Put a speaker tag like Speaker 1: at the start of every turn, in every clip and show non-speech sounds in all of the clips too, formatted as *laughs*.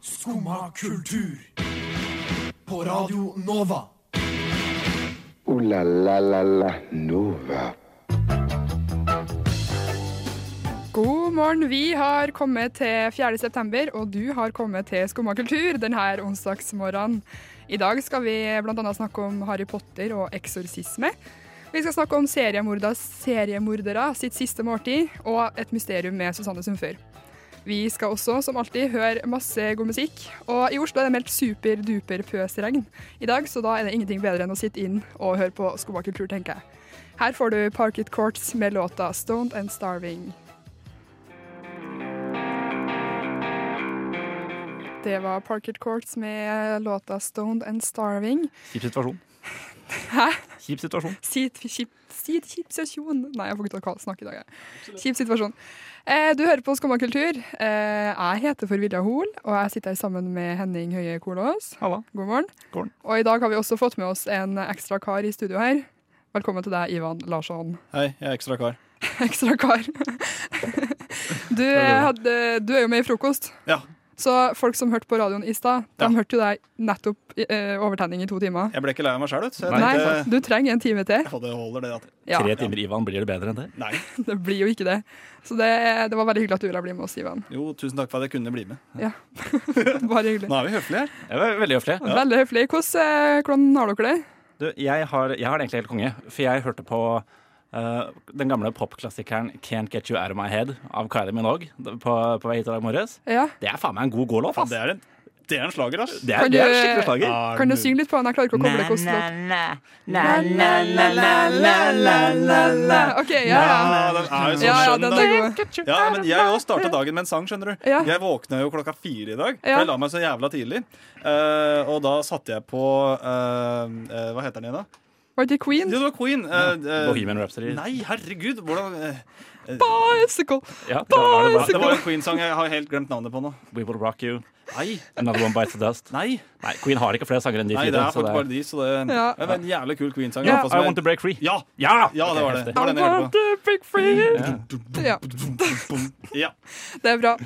Speaker 1: Skumma kultur. På Radio Nova.
Speaker 2: Ooh la la la la Nova.
Speaker 3: God morgen. Vi har kommet til 4. september, og du har kommet til Skumma kultur denne onsdagsmorgenen. I dag skal vi bl.a. snakke om Harry Potter og eksorsisme. Vi skal snakke om seriemorda- seriemordere sitt siste måltid, og et mysterium med Susanne Sundfør. Vi skal også, som alltid, høre masse god musikk. Og i Oslo er det meldt super-duper-pøsregn i dag, så da er det ingenting bedre enn å sitte inn og høre på Skumma kultur, tenker jeg. Her får du Parket Courts med låta 'Stoned and Starving'. Det var Parket Courts med låta 'Stoned and Starving'.
Speaker 4: Kjip situasjon.
Speaker 3: Hæ?
Speaker 4: Kjip situasjon.
Speaker 3: Sit, kjip, sit, kjip situasjon. Nei, jeg får ikke til å ka- snakke i dag. jeg. Kjip situasjon. Eh, du hører på Skumma kultur. Eh, jeg heter Forvirra Hol, og jeg sitter her sammen med Henning Høie Kolås.
Speaker 4: Halla.
Speaker 3: God morgen.
Speaker 4: God morgen.
Speaker 3: Og i dag har vi også fått med oss en ekstra kar i studio her. Velkommen til deg, Ivan Larsson.
Speaker 5: Hei, jeg er ekstra kar.
Speaker 3: *laughs* Ekstra kar. Du, hadde, du er jo med i Frokost.
Speaker 5: Ja.
Speaker 3: Så folk som hørte på radioen i stad, de
Speaker 5: Ja.
Speaker 3: hørte jo deg nettopp eh, overtenning i to timer.
Speaker 5: Jeg ble ikke lei av meg sjøl, vet du. så jeg
Speaker 3: Nei,
Speaker 5: tenkte-
Speaker 3: du trenger en time til.
Speaker 5: Ja, det holder, det. At,
Speaker 3: Ja,
Speaker 4: Tre timer Ivan, blir det bedre enn det?
Speaker 5: nei.
Speaker 3: *laughs* det blir jo ikke det. Så det, det var veldig hyggelig at du ville bli med oss, Ivan.
Speaker 5: Jo, tusen takk for at jeg kunne bli med.
Speaker 3: *laughs* Bare hyggelig.
Speaker 5: Nå er vi høflige her.
Speaker 4: Jeg var veldig høflig.
Speaker 3: Veldig høflig. Hvordan, eh, hvordan har dere det?
Speaker 4: Du, jeg har, jeg har det egentlig helt konge, for jeg hørte på eh, den gamle popklassikeren 'Can't Get You Out of My Head' av Kylie Minogue på, på vei hit i dag morges.
Speaker 3: Ja.
Speaker 4: Det er faen meg en god gålåt,
Speaker 5: Ja,
Speaker 4: ass.
Speaker 5: det, er en, det er en slager, ass.
Speaker 4: Det
Speaker 3: Kan
Speaker 4: er, det er
Speaker 3: du-
Speaker 4: en skikkelig slager.
Speaker 3: Kan du synge litt på den? Jeg klarer ikke å koble hvordan låt. OK, ja, ja.
Speaker 5: Ja, den er jo så
Speaker 3: Ja, ja,
Speaker 5: skjønn.
Speaker 3: den
Speaker 5: da.
Speaker 3: er god.
Speaker 5: Ja, men Jeg òg starta dagen med en sang. skjønner du
Speaker 3: Ja.
Speaker 5: Jeg våkna jo klokka fire i dag. For
Speaker 3: Ja.
Speaker 5: Jeg la meg så jævla tidlig. Eh, og da satte jeg på eh, eh, Hva heter den igjen, da?
Speaker 3: Var det Queen?
Speaker 5: Jo, det var Queen. eh, eh,
Speaker 4: Bohemian Rhapsody.
Speaker 5: Nei, herregud! Hvordan eh,
Speaker 3: Bicycle.
Speaker 4: Ja, det var det
Speaker 5: Det
Speaker 4: bra.
Speaker 5: var en Queen-sang jeg har helt glemt navnet på nå.
Speaker 4: We Will Rock You.
Speaker 5: Nei,
Speaker 4: Another One Bites the Dust.
Speaker 5: nei
Speaker 4: Nei, Queen har ikke flere sanger enn de
Speaker 5: Nei, det
Speaker 4: fire.
Speaker 5: er
Speaker 4: så det
Speaker 5: faktisk bare de, så det
Speaker 3: Ja.
Speaker 5: det var en jævlig kul Queen-sang. i
Speaker 3: Ja.
Speaker 5: hvert fall,
Speaker 4: I
Speaker 5: som
Speaker 4: Want to
Speaker 5: jeg-
Speaker 4: Break Free.
Speaker 5: Ja!
Speaker 4: Ja!
Speaker 5: ja, det var det.
Speaker 4: heftig.
Speaker 5: det var den
Speaker 3: I
Speaker 5: jeg hørte
Speaker 3: want
Speaker 5: på.
Speaker 3: a big friend. Ja.
Speaker 5: Ja,
Speaker 3: Det er bra.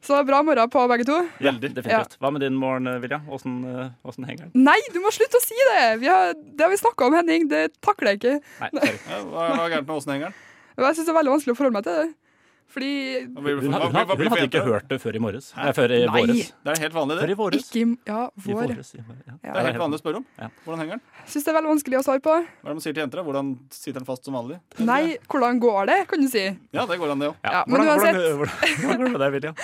Speaker 3: Så bra morgen på begge to.
Speaker 4: Ja, definitivt. Hva med din morgen, Vilja? Åssen eh, åssen henger den?
Speaker 3: Nei, du må slutte å si det! Vi har, det har vi snakka om, Henning. Det takler jeg ikke.
Speaker 4: Nei, sorry.
Speaker 5: Ja, Hva hva er gærent med åssen hengeren?
Speaker 3: Og Jeg syns det er veldig vanskelig å forholde meg til det. Fordi
Speaker 5: Hva blir det for-
Speaker 4: Hun,
Speaker 5: hva-
Speaker 4: hun,
Speaker 5: hva blir
Speaker 4: hun,
Speaker 5: det for
Speaker 4: hadde ikke
Speaker 5: jenter?
Speaker 4: hørt det før i morges. Nei, før i våres.
Speaker 5: Det er helt vanlig, det.
Speaker 4: Før i våres.
Speaker 3: ikke i- Ja,
Speaker 4: I
Speaker 3: vår.
Speaker 4: våres, i våres, ja.
Speaker 3: Ja.
Speaker 5: Det er helt vanlig å spørre om.
Speaker 4: Ja.
Speaker 5: Hvordan henger den?
Speaker 3: Syns det er veldig vanskelig å svare på.
Speaker 5: Hva er det man sier til jenter? da? Hvordan sitter den fast som vanlig?
Speaker 3: Nei, hvordan går det, kan du si.
Speaker 5: Ja, det går an, det òg.
Speaker 3: Ja, men
Speaker 4: hvordan,
Speaker 3: uansett-
Speaker 4: hvordan, hvordan, hvordan går det med deg, William?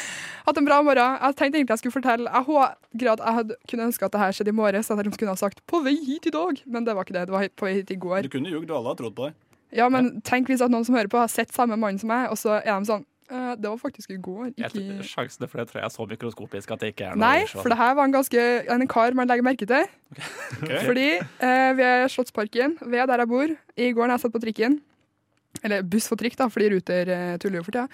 Speaker 3: Hatt en bra morgen. Jeg tenkte egentlig jeg skulle fortelle Jeg håper at jeg hadde kunne ønske at det her skjedde i morges, at jeg liksom kunne ha sagt 'på vei hit i dag', men det var ikke det. Det var på vei hit i går.
Speaker 5: Du kunne jugd, og alle har trodd på deg.
Speaker 3: Ja, men tenk hvis at noen som hører på, har sett samme mann som meg, og så er de sånn «Eh, 'Det var faktisk i går, ikke
Speaker 4: Jeg tror-
Speaker 3: i
Speaker 4: Sjansene for det tror jeg er så mikroskopisk at det ikke er noe
Speaker 3: Nei,
Speaker 4: oversvar.
Speaker 3: for det her var en ganske en kar man legger merke til.
Speaker 5: *laughs* Ok.
Speaker 3: Fordi eh, ved Slottsparken, ved der jeg bor I går når jeg satt på trikken Eller buss for trikk da, fordi ruter eh, tuller jo for tida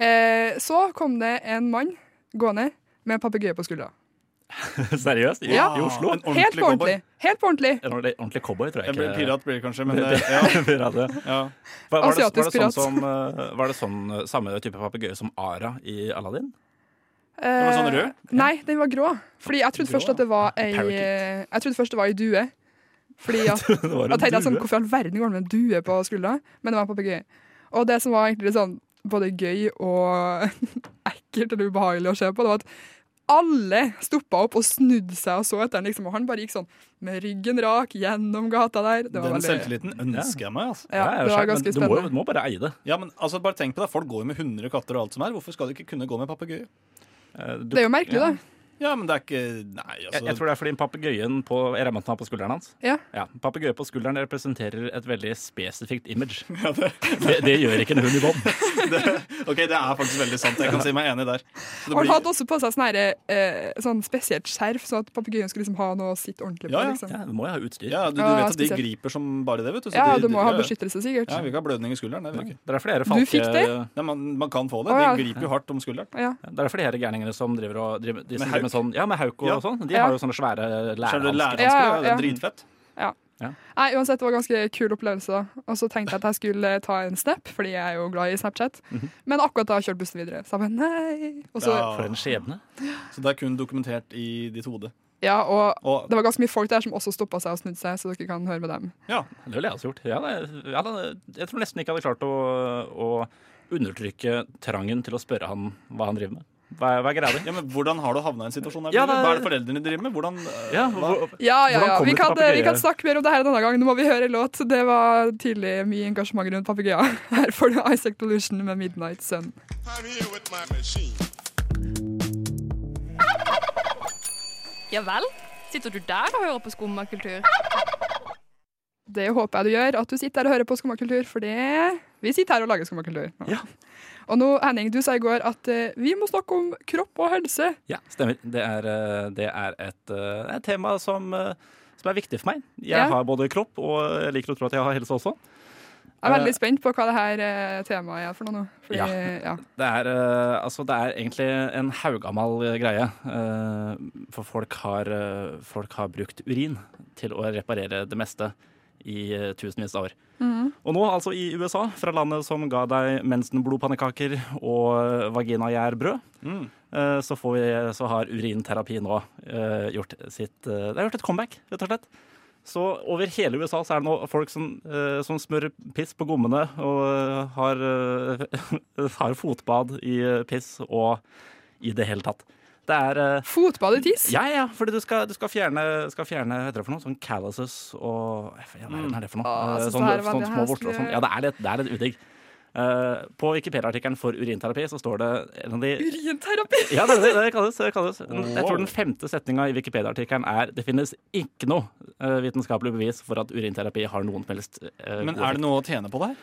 Speaker 3: eh, Så kom det en mann gående med en papegøye på skuldra
Speaker 4: *laughs* Seriøst? I,
Speaker 3: Ja.
Speaker 4: I Oslo?
Speaker 5: En
Speaker 3: Helt på
Speaker 5: cowboy.
Speaker 3: ordentlig, helt på ordentlig
Speaker 4: En ordentlig, ordentlig cowboy, tror jeg
Speaker 5: Jeg
Speaker 4: ikke.
Speaker 5: blir pirat blir det kanskje, men eh, ja.
Speaker 4: *laughs* Pirat, ja.
Speaker 5: ja.
Speaker 4: Var, var, det, var,
Speaker 3: Asiatisk
Speaker 4: det sånn
Speaker 3: pirat.
Speaker 4: *laughs* som, eh, var det sånn eh, samme type papegøye som Ara i Aladdin? *laughs*
Speaker 3: eh,
Speaker 5: sånn rød?
Speaker 3: Nei, den var grå Fordi jeg trodde
Speaker 5: Grå,
Speaker 3: først at det var ei, eh,
Speaker 4: Parakeet.
Speaker 3: Jeg trodde først det var ei due Fordi at
Speaker 4: Det var en
Speaker 3: Da tenkte jeg sånn,
Speaker 4: due.
Speaker 3: hvorfor i all verden går det med en due på skuldra? Men det var en papegøye. Og det som var egentlig litt sånn både gøy og *laughs* ekkelt eller ubehagelig å se på, det var at alle stoppa opp og snudde seg og så etter han, liksom. Og han bare gikk sånn med ryggen rak gjennom gata der. *laughs* Det var
Speaker 5: Den
Speaker 3: veldig
Speaker 5: selvtilliten ønsker jeg meg. altså
Speaker 3: ja,
Speaker 4: jeg er
Speaker 3: det
Speaker 4: sjef,
Speaker 3: var
Speaker 4: men
Speaker 3: ganske
Speaker 4: du må, jo-
Speaker 3: spennende.
Speaker 4: du må bare eie det.
Speaker 5: Ja, men altså, bare tenk på det. Folk går jo med hunder og katter og alt som er. Hvorfor skal du ikke kunne gå med papegøye?
Speaker 4: Eh, Du,
Speaker 3: Det er jo merkelig,
Speaker 4: ja.
Speaker 3: da.
Speaker 5: Ja, men det er ikke Nei, altså.
Speaker 4: Jeg, jeg tror det er fordi papegøyen på jeg regner med at den er på skulderen hans.
Speaker 3: Ja.
Speaker 4: Ja, Papegøye på skulderen representerer et veldig spesifikt
Speaker 5: *laughs*
Speaker 4: image. det, det gjør ikke en hund i bånd.
Speaker 5: OK, det er faktisk veldig sant. Jeg kan si meg enig der. Så
Speaker 3: Og han hadde også på seg sånn her, eh, sånn spesielt skjerf, sånn at papegøyen skulle liksom ha noe å sitte ordentlig på.
Speaker 5: Ja, ja.
Speaker 3: Liksom.
Speaker 4: Ja, du må jo ha utstyr.
Speaker 5: Ja, du, du
Speaker 3: Ja,
Speaker 5: vet at de
Speaker 3: spesielt.
Speaker 5: griper som bare det, vet du. så
Speaker 3: ja,
Speaker 5: de,
Speaker 3: du må ha
Speaker 5: ja, ja.
Speaker 3: beskyttelse, sikkert.
Speaker 5: Ja, vi vil ikke ha blødning i skulderen. Det vil vi ikke.
Speaker 4: Det er flere
Speaker 3: Du
Speaker 4: falke,
Speaker 3: fikk det?
Speaker 5: Nei, man, man kan få det.
Speaker 3: Å, ja.
Speaker 5: De griper jo hardt om skulderen.
Speaker 3: Ja.
Speaker 4: Ja, Det er flere gærninger som driver og driver, de som
Speaker 5: Med
Speaker 4: driver med sånn Ja, med hauk og
Speaker 5: Ja.
Speaker 4: sånn. De
Speaker 3: Ja.
Speaker 4: har jo sånne svære
Speaker 5: Skjønner du,
Speaker 4: lærerhansker.
Speaker 5: lærerhansker,
Speaker 3: Ja, Mm. ja,
Speaker 5: det
Speaker 3: ja.
Speaker 5: er dritfett.
Speaker 4: Ja.
Speaker 3: Nei, uansett, det var ganske kul opplevelse. da. Og så tenkte jeg at jeg skulle ta en snap, fordi jeg er jo glad i Snapchat.
Speaker 4: Mhm.
Speaker 3: Men akkurat da kjørte bussen videre. Så jeg bare nei. Og så, ja.
Speaker 4: For en skjebne.
Speaker 5: Så det er kun dokumentert i ditt hode.
Speaker 3: og
Speaker 5: Og
Speaker 3: det var ganske mye folk der som også stoppa seg og snudde seg, så dere kan høre med dem.
Speaker 5: ja,
Speaker 4: Det ville jeg også gjort. Ja, det, ja, det, jeg tror nesten ikke jeg hadde klart å, å undertrykke trangen til å spørre han hva han driver med. Hva, er- hva er greia di?
Speaker 5: ja, men hvordan har du havna i en situasjon her?
Speaker 4: Ja,
Speaker 5: Bjørge?
Speaker 4: det-
Speaker 5: Hva er det foreldrene driver med? Hvordan, eh,
Speaker 4: Ja,
Speaker 5: hva-
Speaker 4: hvor,
Speaker 3: Ja, ja,
Speaker 4: Hvordan
Speaker 3: ja.
Speaker 4: kom
Speaker 3: Vi
Speaker 4: du til
Speaker 3: kan, vi kan
Speaker 4: papegøye?
Speaker 3: snakke mer om det her en annen gang. Nå må vi høre en låt. Det var tidlig mye engasjement rundt papegøya. *laughs* Her får du Isaac Delusion med 'Midnight Sun'.
Speaker 6: I'm here with my machine.
Speaker 7: Ja vel? Sitter du der og hører på skummakultur?
Speaker 3: Det håper jeg du gjør, at du sitter her og hører på Skummakultur, for det Vi sitter her og lager Skummakultur. nå. Og nå, Henning, du sa i går at eh, vi må snakke om kropp og helse.
Speaker 4: ja stemmer. Det er, eh, det er et, eh, et tema som, eh, som er viktig for meg. Jeg
Speaker 3: Ja.
Speaker 4: har både kropp, og jeg liker å tro at jeg har helse også.
Speaker 3: Jeg er
Speaker 4: Eh,
Speaker 3: veldig spent på hva det her eh, temaet er for noe nå. Fordi,
Speaker 4: Ja.
Speaker 3: ja.
Speaker 4: Det er, eh, altså, det er egentlig en haugammal eh, greie. Eh, for folk har, eh, folk har brukt urin til å reparere det meste i eh, tusenvis av år. Og nå altså i USA, fra landet som ga deg mensenblodpannekaker og eh, vaginagjærbrød, eh, så, får vi, så har urinterapi nå eh, gjort sitt eh, Det har gjort et comeback, rett og slett. Så over hele USA så er det nå folk som, eh, som smører piss på gommene og eh, har, eh, *laughs* har fotbad i eh, piss og i det hele tatt. Det er eh,
Speaker 3: Fotbad i tiss?
Speaker 4: Ja, ja, fordi du skal, du skal fjerne, skal fjerne Hva heter det for noe? Sånn calluses og ja, Hva er det for noe?
Speaker 3: Å, jeg
Speaker 4: Eh,
Speaker 3: synes
Speaker 4: Sånn,
Speaker 3: det her var-
Speaker 4: sånn
Speaker 3: det her
Speaker 4: små vorter og
Speaker 3: skulle-
Speaker 4: sånn. Ja, det er litt, det er litt udigg. Eh, på Wikipedia-artikkelen for urinterapi så står det en av de
Speaker 3: Urinterapi!
Speaker 4: ja, det, det, det kalles. Det kalles. Jeg tror den femte setninga i Wikipedia-artikkelen er det finnes ikke noe eh, vitenskapelig bevis for at urinterapi har noen som helst eh,
Speaker 5: Men
Speaker 4: god
Speaker 5: er det noe å tjene på det her?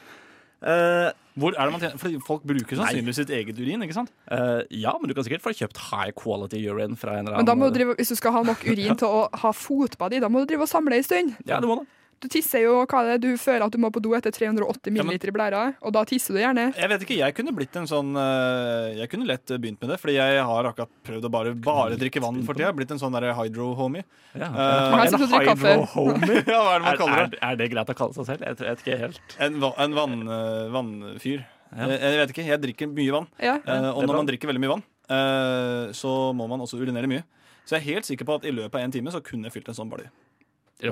Speaker 4: effekt.
Speaker 5: Hvor er det man tjener? Fordi folk bruker sannsynligvis sitt eget urin, ikke sant?
Speaker 4: Eh, eh, ja, men du kan sikkert få kjøpt high quality urine fra en eller annen
Speaker 3: Men da må du drive, hvis du skal ha nok urin til å ha fotbad i, da må du drive og samle ei stund.
Speaker 4: Ja, du må det.
Speaker 3: Du tisser jo hva er det du føler at du må på do etter 380 milliliter i blæra, og da tisser du gjerne.
Speaker 5: Jeg vet ikke, jeg kunne blitt en sånn eh, Jeg kunne lett begynt med det, fordi jeg har akkurat prøvd å bare, bare drikke vann for tida. Blitt en sånn der hydro-homie.
Speaker 4: Ja.
Speaker 5: Eh,
Speaker 3: jeg sitter og drikker kaffe.
Speaker 4: hydro-homie.
Speaker 5: *laughs* ja, *laughs* hva er det man
Speaker 4: Er,
Speaker 5: kaller det?
Speaker 4: er, er det greit å kalle seg selv? Jeg tror- jeg vet ikke helt.
Speaker 5: En, va- en vann, eh, vannfyr. Eh, Jeg vet ikke, jeg drikker mye vann.
Speaker 3: Ja.
Speaker 5: Eh,
Speaker 4: det
Speaker 5: og
Speaker 4: er
Speaker 5: når
Speaker 4: bra.
Speaker 5: man drikker veldig mye vann, eh, så må man også urinere mye. Så jeg er helt sikker på at i løpet av en time så kunne jeg fylt en sånn balje.
Speaker 4: Det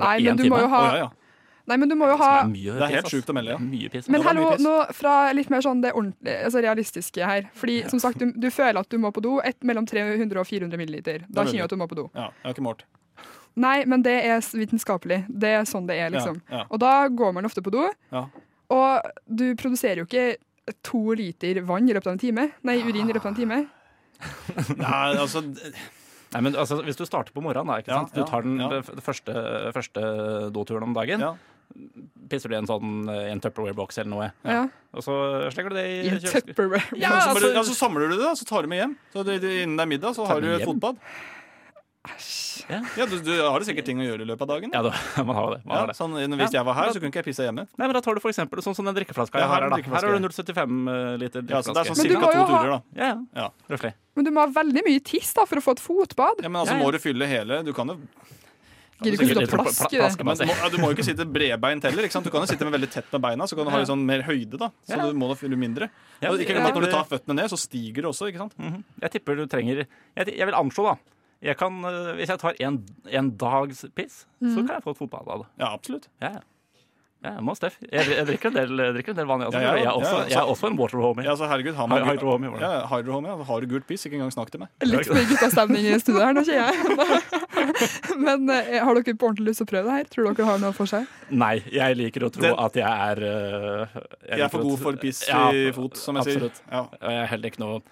Speaker 3: Nei,
Speaker 4: var
Speaker 3: men
Speaker 4: én
Speaker 3: du
Speaker 4: time.
Speaker 3: må jo ha,
Speaker 5: Å, ja, ja.
Speaker 3: nei, men du må jo ha
Speaker 4: Som mye
Speaker 5: Det er helt
Speaker 4: piss, ass.
Speaker 5: sjukt å melde, ja.
Speaker 4: Det er Mye piss.
Speaker 3: Men
Speaker 5: det var
Speaker 3: hallo,
Speaker 5: mye piss.
Speaker 3: nå fra litt mer sånn det ordentlige, altså realistiske her. Fordi som sagt, du, du føler at du må på do et, mellom 300 og 400 milliliter. Da
Speaker 5: Det
Speaker 3: kjenner
Speaker 5: er veldig.
Speaker 3: du at du må på do.
Speaker 5: ja. Jeg har ikke målt.
Speaker 3: Nei, men det er s- vitenskapelig. Det er sånn det er, liksom.
Speaker 5: Ja, ja.
Speaker 3: Og da går man ofte på do,
Speaker 5: Ja.
Speaker 3: og du produserer jo ikke to liter vann i løpet av en time. Nei, urin i løpet av en time.
Speaker 5: Nei,
Speaker 4: *laughs*
Speaker 5: altså d-
Speaker 4: Nei, men altså, Hvis du starter på morgenen, da, ikke
Speaker 5: Ja,
Speaker 4: sant? du
Speaker 5: ja,
Speaker 4: tar den
Speaker 5: ja.
Speaker 4: f- første, første doturen om dagen,
Speaker 5: Ja.
Speaker 4: pisser du i en sånn eh, i en Tupperware-boks eller noe,
Speaker 3: Ja.
Speaker 4: og så slenger du det i
Speaker 3: I en
Speaker 4: kjøleskapet.
Speaker 3: Tupperware.
Speaker 4: Ja,
Speaker 5: men så,
Speaker 4: altså,
Speaker 5: bare, ja, så samler du det, da, så tar du med hjem. Så det, det, Innen det er middag, så har du
Speaker 4: med hjem?
Speaker 5: fotbad.
Speaker 4: Ja.
Speaker 5: Ja, du, du har jo sikkert ting å gjøre i løpet av dagen.
Speaker 4: ja, da- *laughs* man har jo det. Man
Speaker 5: Ja,
Speaker 4: har det.
Speaker 5: sånn, hvis jeg var her, så kunne ikke jeg pisse hjemme.
Speaker 4: Nei, men Da tar du for eksempel sånn som den drikkeflaska
Speaker 5: Ja,
Speaker 4: jeg har her. da.
Speaker 5: drikkeflaske.
Speaker 4: Her har du 0,75 eh, liter
Speaker 5: Ja, så det er
Speaker 4: drikkeflaske.
Speaker 5: sånn
Speaker 3: Men du
Speaker 5: cirka
Speaker 3: må
Speaker 5: to
Speaker 3: jo ha-
Speaker 5: turer, da.
Speaker 4: ja, ja.
Speaker 5: Ja.
Speaker 4: Røffelig.
Speaker 3: Men du må ha veldig mye tiss da, for å få et fotbad.
Speaker 5: Ja, men altså,
Speaker 4: Ja, ja.
Speaker 5: må du fylle hele Du kan jo
Speaker 3: Gidder ikke å
Speaker 4: Litt
Speaker 3: sitte og plaske
Speaker 4: plaske,
Speaker 3: det.
Speaker 5: men,
Speaker 4: bare.
Speaker 5: Altså, du må, ja, du må jo ikke sitte bredbeint heller. Ikke sant? Du kan jo sitte med veldig tett med beina, så kan du ha litt sånn mer høyde. da Så
Speaker 4: Ja.
Speaker 5: du må da fylle mindre.
Speaker 4: Ja,
Speaker 5: og ikke
Speaker 4: ja,
Speaker 5: glem at når
Speaker 4: det-
Speaker 5: du tar føttene ned, så stiger det også. ikke sant?
Speaker 4: Jeg tipper du trenger Jeg, jeg vil anslå, da. Jeg kan, eh, hvis jeg tar en, en dags piss, så kan jeg få et fotball av det.
Speaker 5: Ja, absolutt.
Speaker 4: Ja, ja. Ja, jeg må Steff. Jeg, jeg drikker en del, jeg drikker en del vann, jeg også.
Speaker 5: Ja, ja,
Speaker 4: jeg, er
Speaker 5: ja,
Speaker 4: også
Speaker 5: ja,
Speaker 4: jeg er også en waterhomie.
Speaker 5: Ja, altså, herregud, har man
Speaker 4: Hy- hydrohomie, var det.
Speaker 5: ja, hydrohomie, ja. Har du gult piss, ikke engang snakk til meg.
Speaker 3: Litt mer guttastemning i studio her, nå sier jeg. *laughs* Men eh, har dere på ordentlig lyst til å prøve det her? Tror dere har noe for seg?
Speaker 4: Nei, jeg liker å tro
Speaker 5: Den-
Speaker 4: at jeg er eh,
Speaker 5: Jeg
Speaker 4: liker
Speaker 5: er for
Speaker 4: å
Speaker 5: god
Speaker 4: tro-
Speaker 5: for piss
Speaker 4: Ja,
Speaker 5: i fot, som jeg
Speaker 4: absolutt.
Speaker 5: sier. Ja.
Speaker 4: Og jeg er heller ikke noe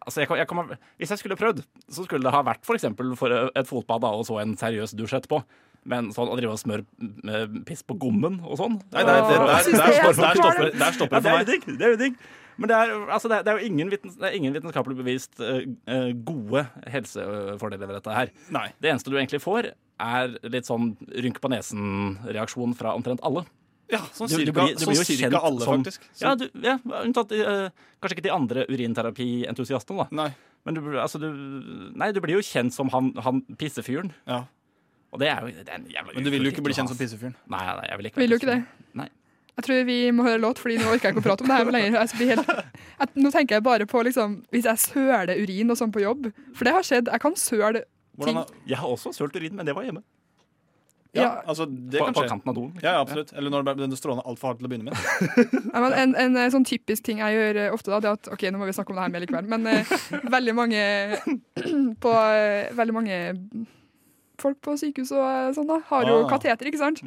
Speaker 4: Altså, jeg kan, jeg kan, hvis jeg skulle prøvd, så skulle det ha vært for eksempel for et fotbad da, og så en seriøs dusj etterpå. Men sånn å drive og smøre mm, piss på gommen og sånn
Speaker 5: Nei, der, der, der,
Speaker 3: Jeg synes
Speaker 5: der,
Speaker 3: det er
Speaker 5: stopper-
Speaker 3: så
Speaker 5: der,
Speaker 3: kvalmt.
Speaker 5: stopper, der stopper
Speaker 4: Ja, det
Speaker 5: det for
Speaker 4: er jo
Speaker 5: meg.
Speaker 4: digg. Det er jo digg. Men det er, altså, det er, det er jo ingen, vitens, det er ingen vitenskapelig bevist eh, eh, gode helsefordeler ved dette her.
Speaker 5: Nei.
Speaker 4: Det eneste du egentlig får, er litt sånn rynke på nesen-reaksjon fra omtrent alle.
Speaker 5: Ja, sånn
Speaker 4: Du- du
Speaker 5: cirka,
Speaker 4: blir- du blir jo
Speaker 5: sånn
Speaker 4: kjent
Speaker 5: cirka alle,
Speaker 4: som-
Speaker 5: faktisk.
Speaker 4: Ja,
Speaker 5: Så,
Speaker 4: du, ja unntatt eh, Kanskje ikke de andre urinterapientusiastene, da.
Speaker 5: nei.
Speaker 4: Men du, altså, du, nei, du blir jo kjent som han, han pissefyren.
Speaker 5: Ja.
Speaker 4: Og det er jo det er en jævla
Speaker 5: Men du vil jo ikke bli kjent som
Speaker 4: ukultur, ass.
Speaker 5: pissefyren.
Speaker 4: Nei, nei, jeg vil ikke være
Speaker 3: Vil jo ikke det.
Speaker 4: pissefyr. Nei.
Speaker 3: Jeg tror vi må høre låt, Fordi nå orker jeg ikke å prate om det her lenger. Jeg blir helt, jeg, nå tenker jeg bare på liksom, hvis jeg søler urin og sånn på jobb. For det har skjedd. Jeg kan søle ting
Speaker 5: Hvordan,
Speaker 4: Jeg har også sølt urin, men det var hjemme.
Speaker 5: ja,
Speaker 3: Ja.
Speaker 5: altså, det
Speaker 4: På,
Speaker 5: kan
Speaker 4: på
Speaker 5: skje.
Speaker 4: kanten av doen. liksom.
Speaker 5: Ja, ja, absolutt. Eller når det ble- den strålende altfor hardt til å begynne med.
Speaker 3: *laughs* Ja, men en, en eh, sånn typisk ting jeg gjør eh, ofte, da, det er at OK, nå må vi snakke om det her mer likevel. Men eh,
Speaker 5: *laughs*
Speaker 3: veldig mange *clears throat* på eh, Veldig mange folk på sykehus og eh, sånn, da, har jo
Speaker 5: Ah.
Speaker 3: kateter, ikke sant?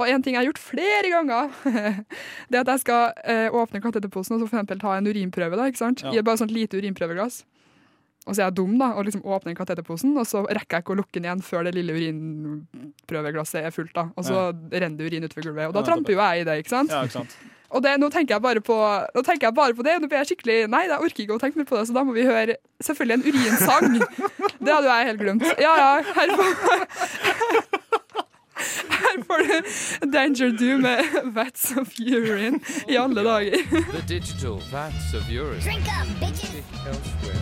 Speaker 3: Og en ting jeg har gjort flere ganger, *laughs* det er at jeg skal eh, åpne kateterposen og så for eksempel ta en urinprøve, da, ikke sant?
Speaker 5: Ja.
Speaker 3: I bare sånt lite urinprøveglass. Og så er jeg dum, da, og liksom åpner kateterposen, og så rekker jeg ikke å lukke den igjen før det lille urinprøveglasset er fullt, da. Og så renner det urin utover gulvet, og da
Speaker 5: Ja, nettopp.
Speaker 3: tramper jo jeg i det, ikke sant?
Speaker 5: Ja, ikke
Speaker 4: *laughs*
Speaker 5: sant?
Speaker 3: Og det, nå, tenker jeg bare på, nå tenker jeg bare på det, og nå blir jeg skikkelig Nei, jeg orker ikke å tenke mer på det, så da må vi høre selvfølgelig en urinsang. Det hadde jo jeg helt glemt. Ja, ja, her får, her får du Danger Do med Vats of Urine i alle dager.
Speaker 8: The digital vats of Europe.
Speaker 9: Drink up, bitches!
Speaker 8: Elsewhere.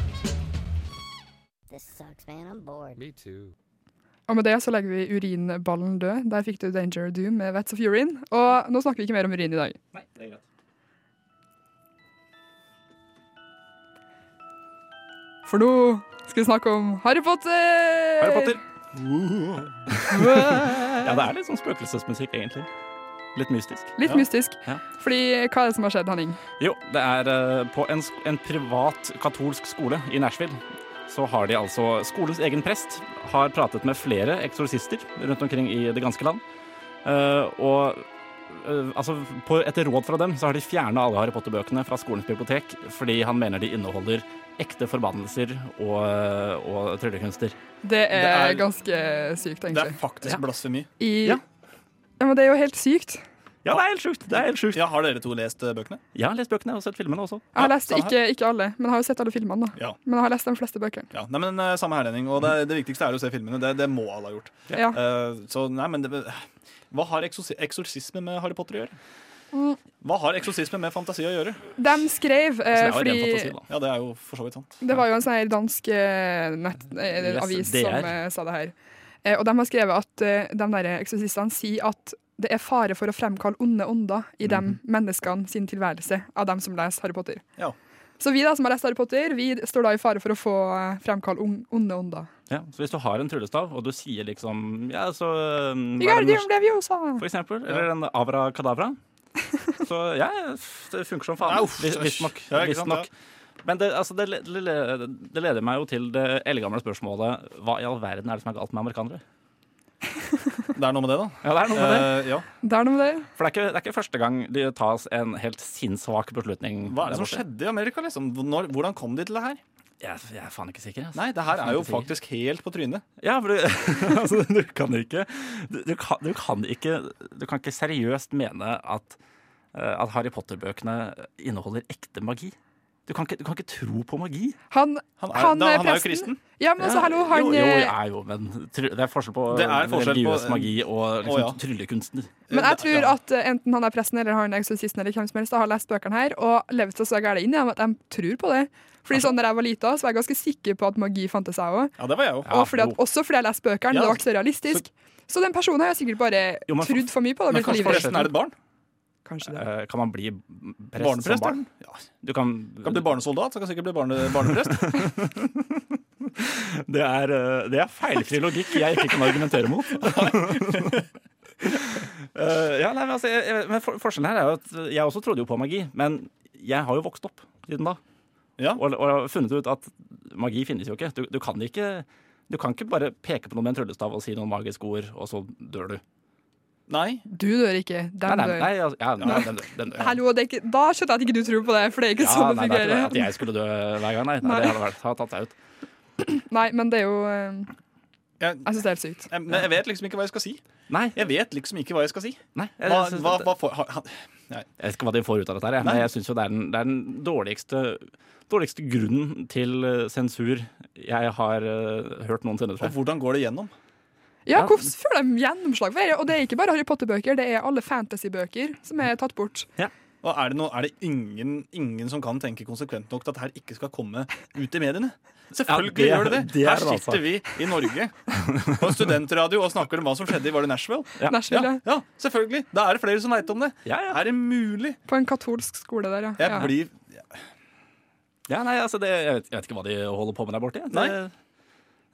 Speaker 9: This sucks, man. I'm bored.
Speaker 8: Me too.
Speaker 3: Og med det så legger vi urinballen død. Der fikk du Danger Do med Vats of Urine. Og nå snakker vi ikke mer om urin i dag.
Speaker 4: Nei, det er greit.
Speaker 3: For nå skal vi snakke om Harry Potter!
Speaker 4: Harry Potter. ja, det er litt sånn spøkelsesmusikk, egentlig. Litt mystisk.
Speaker 3: *laughs* Litt mystisk.
Speaker 4: Ja.
Speaker 3: Fordi hva er det som har skjedd, Henning?
Speaker 4: Jo, det er eh, på en, sk- en privat katolsk skole i Nashville. Så har de altså Skolens egen prest har pratet med flere eksorsister rundt omkring i det ganske land. Eh, og eh, altså, på, etter råd fra dem så har de fjerna alle Harry Potter-bøkene fra skolens bibliotek fordi han mener de inneholder ekte forbannelser og, eh, og tryllekunster.
Speaker 3: Det er,
Speaker 5: Det er-
Speaker 3: ganske sykt,
Speaker 5: Det er
Speaker 3: egentlig.
Speaker 5: faktisk
Speaker 4: Ja.
Speaker 5: blasfemi.
Speaker 3: I, ja.
Speaker 4: Ja.
Speaker 3: men det er jo helt sykt.
Speaker 4: Ja, det er helt sjukt! Det er helt sjukt.
Speaker 5: Ja, Har dere to lest eh, bøkene?
Speaker 4: Jeg har lest bøkene og sett filmene også.
Speaker 3: Jeg har lest
Speaker 5: samme
Speaker 3: ikke, ikke alle, men jeg har jo sett alle filmene. da.
Speaker 5: Ja.
Speaker 3: Men jeg har lest de fleste bøkene.
Speaker 5: ja. Nei, men eh, Samme her, Henning. Og det, det viktigste er å se filmene. Det, det må alle ha gjort.
Speaker 3: Ja.
Speaker 5: Eh, så nei, men det, Hva har eksorsi eksorsisme med Harry Potter å gjøre? Hva har eksorsisme med fantasi å gjøre?
Speaker 3: De skrev
Speaker 4: Så det
Speaker 3: eh,
Speaker 4: er Altså, jo ren fantasi,
Speaker 3: fordi
Speaker 4: da.
Speaker 5: Ja, Det er jo for så vidt sant.
Speaker 3: Det var jo en sånn her dansk eh, nett, eh,
Speaker 4: Yes,
Speaker 3: avis
Speaker 4: DR.
Speaker 3: som eh, sa det her. Eh, og de har skrevet at eh, de der eksorsistene sier at det er fare for å fremkalle onde ånder i de
Speaker 4: Mhm.
Speaker 3: menneskene sin tilværelse av dem som leser Harry Potter.
Speaker 5: Ja.
Speaker 3: Så vi da som har lest Harry Potter, vi står da i fare for å få eh, fremkalle on- onde ånder.
Speaker 4: Ja, så hvis du har en tryllestav, og du sier liksom Ja, så um, hva er det
Speaker 3: Wingardium
Speaker 4: norsk-
Speaker 3: Leviosa!
Speaker 4: For eksempel. Eller en avra kadavra. Så ja, det funker som faen.
Speaker 5: Ja, uff,
Speaker 4: Vis- Visstnok.
Speaker 5: ja, ikke
Speaker 4: visst
Speaker 5: sant,
Speaker 4: nok. Men det, altså, det, le- le- le- det leder meg jo til det eldgamle spørsmålet Hva i all verden er det som er galt med amerikanere?
Speaker 5: Det er noe med det, da.
Speaker 4: Ja, det er noe med det.
Speaker 5: Eh, ja.
Speaker 3: Det er noe med det.
Speaker 4: Eh, For det er, ikke, det er ikke første gang det tas en helt sinnssvak beslutning.
Speaker 5: Hva er det
Speaker 4: der
Speaker 5: som
Speaker 4: borte.
Speaker 5: skjedde i Amerika? liksom? Når, hvordan kom de til det her?
Speaker 4: Jeg, jeg er faen ikke sikker. Altså.
Speaker 5: Nei, det her er jo
Speaker 4: Faen ikke sikker.
Speaker 5: faktisk helt på trynet.
Speaker 4: Ja, for du, *laughs* altså, du kan ikke du, du, kan, du kan ikke Du kan ikke seriøst mene at, eh, at Harry Potter-bøkene inneholder ekte magi. Du kan, ikke, du kan ikke tro på magi.
Speaker 3: Han,
Speaker 5: Han er,
Speaker 3: Han,
Speaker 5: da,
Speaker 3: eh,
Speaker 5: han er jo
Speaker 3: presten.
Speaker 5: kristen.
Speaker 3: ja, men også,
Speaker 4: Ja,
Speaker 3: hallo, han
Speaker 4: jo, jo,
Speaker 3: eh,
Speaker 4: ja, jo, men try- det er forskjell på
Speaker 5: Det er forskjell på-
Speaker 4: religiøs magi og liksom,
Speaker 5: Å, ja.
Speaker 4: tryllekunstner.
Speaker 3: Men jeg
Speaker 5: Det-
Speaker 3: tror
Speaker 5: ja.
Speaker 3: at eh, enten han er presten eller han er eksorsisten eller hvem som helst, da, har lest bøkene her og levd seg så gærent inn i dem at de tror på det.
Speaker 4: Altså-
Speaker 3: Fordi sånn, når jeg var lita, så var jeg ganske sikker på at magi fantes, jeg òg.
Speaker 5: Ja, det var jeg jo.
Speaker 4: Ja,
Speaker 3: og fordi at,
Speaker 4: jo.
Speaker 3: også fordi jeg leste bøkene,
Speaker 5: Ja.
Speaker 3: det ble så realistisk. Så, den personen har jeg sikkert bare
Speaker 4: Jo, men for-
Speaker 3: trodd for mye på.
Speaker 5: Men
Speaker 3: Det,
Speaker 5: kanskje presten er et barn?
Speaker 3: kanskje det.
Speaker 4: Eh, Kan man bli prest som
Speaker 5: Barneprest?
Speaker 4: barn?
Speaker 5: ja. Ja.
Speaker 4: Du kan,
Speaker 5: Kan bli barnesoldat, så kan sikkert bli barne, barneprest. *laughs*
Speaker 4: Det er, eh, det er feilfri logikk jeg ikke kan argumentere
Speaker 5: *laughs*
Speaker 4: mot. *laughs* Eh, ja, nei, men altså, jeg, jeg- men for, forskjellen her er jo at jeg også trodde jo på magi, men jeg har jo vokst opp siden da.
Speaker 5: Ja.
Speaker 4: Og, og har funnet ut at magi finnes jo ikke. Du, du kan ikke. Du kan ikke bare peke på noe med en tryllestav og si noen magiske ord, og så dør du.
Speaker 5: Nei.
Speaker 3: Du dør ikke,
Speaker 4: Nei,
Speaker 3: dem
Speaker 4: nei,
Speaker 3: dør.
Speaker 4: nei, altså, ja, nei, den dør. Den dør.
Speaker 3: Hallo, det er ikke, da skjønner jeg at ikke du tror på det, for det er ikke
Speaker 4: Ja,
Speaker 3: sånn
Speaker 4: nei,
Speaker 3: det
Speaker 4: det er ikke det
Speaker 3: fungerer.
Speaker 4: at jeg skulle dø hver gang, nei. nei,
Speaker 3: Nei.
Speaker 4: Det hadde vært, hadde tatt seg ut.
Speaker 3: Nei, men det er jo eh, Jeg
Speaker 5: Jeg,
Speaker 3: syns det er helt sykt.
Speaker 5: jeg, men jeg vet liksom ikke hva jeg skal si.
Speaker 4: Nei, jeg,
Speaker 5: Jeg vet liksom ikke hva jeg skal si.
Speaker 4: nei jeg,
Speaker 5: Hva,
Speaker 4: synes
Speaker 5: hva,
Speaker 4: at-
Speaker 5: hva får ha- ha-
Speaker 4: Jeg vet ikke hva de får ut av dette, her, jeg, men
Speaker 5: Nei.
Speaker 4: jeg syns jo det er den, det er den dårligste, dårligste grunnen til eh, sensur jeg har eh, hørt noensinne,
Speaker 5: Og
Speaker 4: tror jeg.
Speaker 5: hvordan går det gjennom?
Speaker 3: Ja, Hvordan får de gjennomslag for det? Og det er ikke bare Harry Potter-bøker, det er alle fantasy-bøker som er tatt bort.
Speaker 5: Og er det, noe, er det ingen, ingen som kan tenke konsekvent nok til at her ikke skal komme ut i mediene? Selvfølgelig
Speaker 4: Ja, det-
Speaker 5: gjør det det.
Speaker 4: det er
Speaker 5: Her
Speaker 4: det altså.
Speaker 5: sitter vi i Norge på en studentradio og snakker om hva som skjedde i var det Nashville.
Speaker 4: Ja.
Speaker 3: Nashville, ja.
Speaker 5: ja, selvfølgelig. Da er det flere som veit om det.
Speaker 4: Ja, ja.
Speaker 5: Er det mulig?
Speaker 3: På en katolsk skole der, ja.
Speaker 5: Jeg
Speaker 3: ja.
Speaker 5: blir
Speaker 4: Ja, nei, altså det, jeg, vet, jeg vet ikke hva de holder på med der borte. Jeg Det-
Speaker 5: Nei.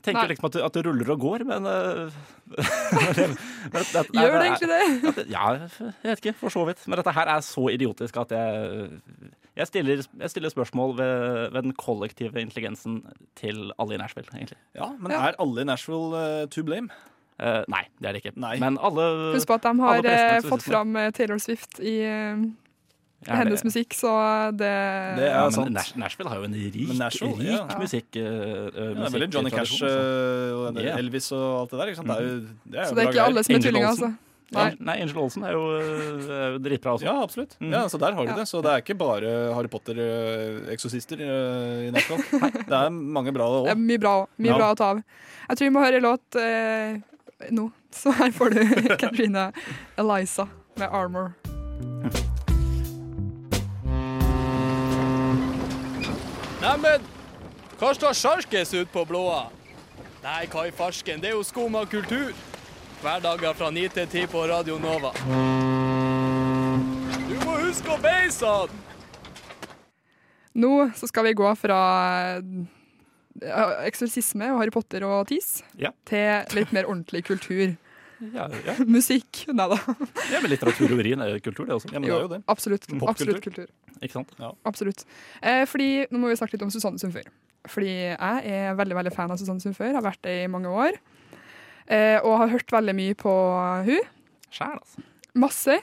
Speaker 4: tenker
Speaker 3: Nei.
Speaker 4: liksom at, du- at det ruller og går, men, øh, *laughs* men det- det- nei,
Speaker 3: Gjør det egentlig
Speaker 5: *laughs*
Speaker 3: det?
Speaker 5: Altså,
Speaker 4: er- Ja, jeg vet ikke, for så vidt. Men dette her er så idiotisk at jeg jeg stiller, jeg stiller spørsmål ved, ved den kollektive intelligensen til alle i Nashville, egentlig.
Speaker 5: Ja, men
Speaker 3: Ja.
Speaker 5: er alle i Nashville eh, to blame?
Speaker 4: Eh, nei, det er det ikke.
Speaker 5: Nei.
Speaker 4: Men alle
Speaker 3: Husk på at de
Speaker 4: alle
Speaker 3: har
Speaker 4: pressene
Speaker 3: eh,
Speaker 4: som
Speaker 3: fått
Speaker 4: sitter der.
Speaker 3: fram eh, Taylor Swift i eh,
Speaker 4: Ja, det-
Speaker 3: hennes musikk, så det,
Speaker 5: Det er
Speaker 4: Ja, men
Speaker 5: sant.
Speaker 4: Nash, Nashville har jo en rik,
Speaker 5: Men Nashville,
Speaker 4: rik
Speaker 5: ja. Ja.
Speaker 4: musikk. øh, øh,
Speaker 5: Ja, det er veldig Johnny Cash
Speaker 4: musikktradisjon, altså.
Speaker 5: eh, og den der
Speaker 4: Ja.
Speaker 5: Elvis og alt det der. Ikke sant? Det er jo, det er jo
Speaker 3: Så det er
Speaker 5: bra
Speaker 3: ikke
Speaker 5: greier.
Speaker 3: alle som er
Speaker 4: Angel
Speaker 3: tullinger, altså.
Speaker 4: Olsen.
Speaker 3: Nei.
Speaker 4: Ang- Nei, Angel Olsen er jo, øh, er jo dritbra også.
Speaker 5: Ja, absolutt. Ja, så der har du det. Så det er ikke bare Harry Potter-eksorsister eh,
Speaker 3: *laughs*
Speaker 5: i Nashville. Det er mange bra
Speaker 3: Det er
Speaker 5: òg.
Speaker 3: mye bra, mye
Speaker 5: Ja.
Speaker 3: bra å ta av. Jeg tror vi må høre en låt eh, nå. *laughs* Så her får du *laughs* Katrina Eliza med 'Armor'.
Speaker 10: Neimen, hva står sjarkes ut på blåa? Nei, hva i farsken, det er jo skum av kultur. Hverdager fra 9 til 10 på Radio Nova. Du må huske å beise han!
Speaker 3: Nå så skal vi gå fra eh, eksorsisme og Harry Potter og tis
Speaker 4: Ja.
Speaker 3: til litt mer ordentlig kultur.
Speaker 4: Ja, ja.
Speaker 3: Musikk. Nei da.
Speaker 4: Ja, men litteratur og urin er jo eh, kultur, det også.
Speaker 5: Ja, men det er jo det.
Speaker 3: absolutt.
Speaker 5: Popkultur.
Speaker 3: Absolutt kultur.
Speaker 4: Ikke sant?
Speaker 3: Absolutt. Eh, fordi, nå må vi snakke litt om Susanne Sundfør. Fordi jeg er veldig veldig fan av Susanne Sundfør, har vært det i mange år. Eh, og har hørt veldig mye på hun.
Speaker 4: Sjæl, altså.
Speaker 3: Masse.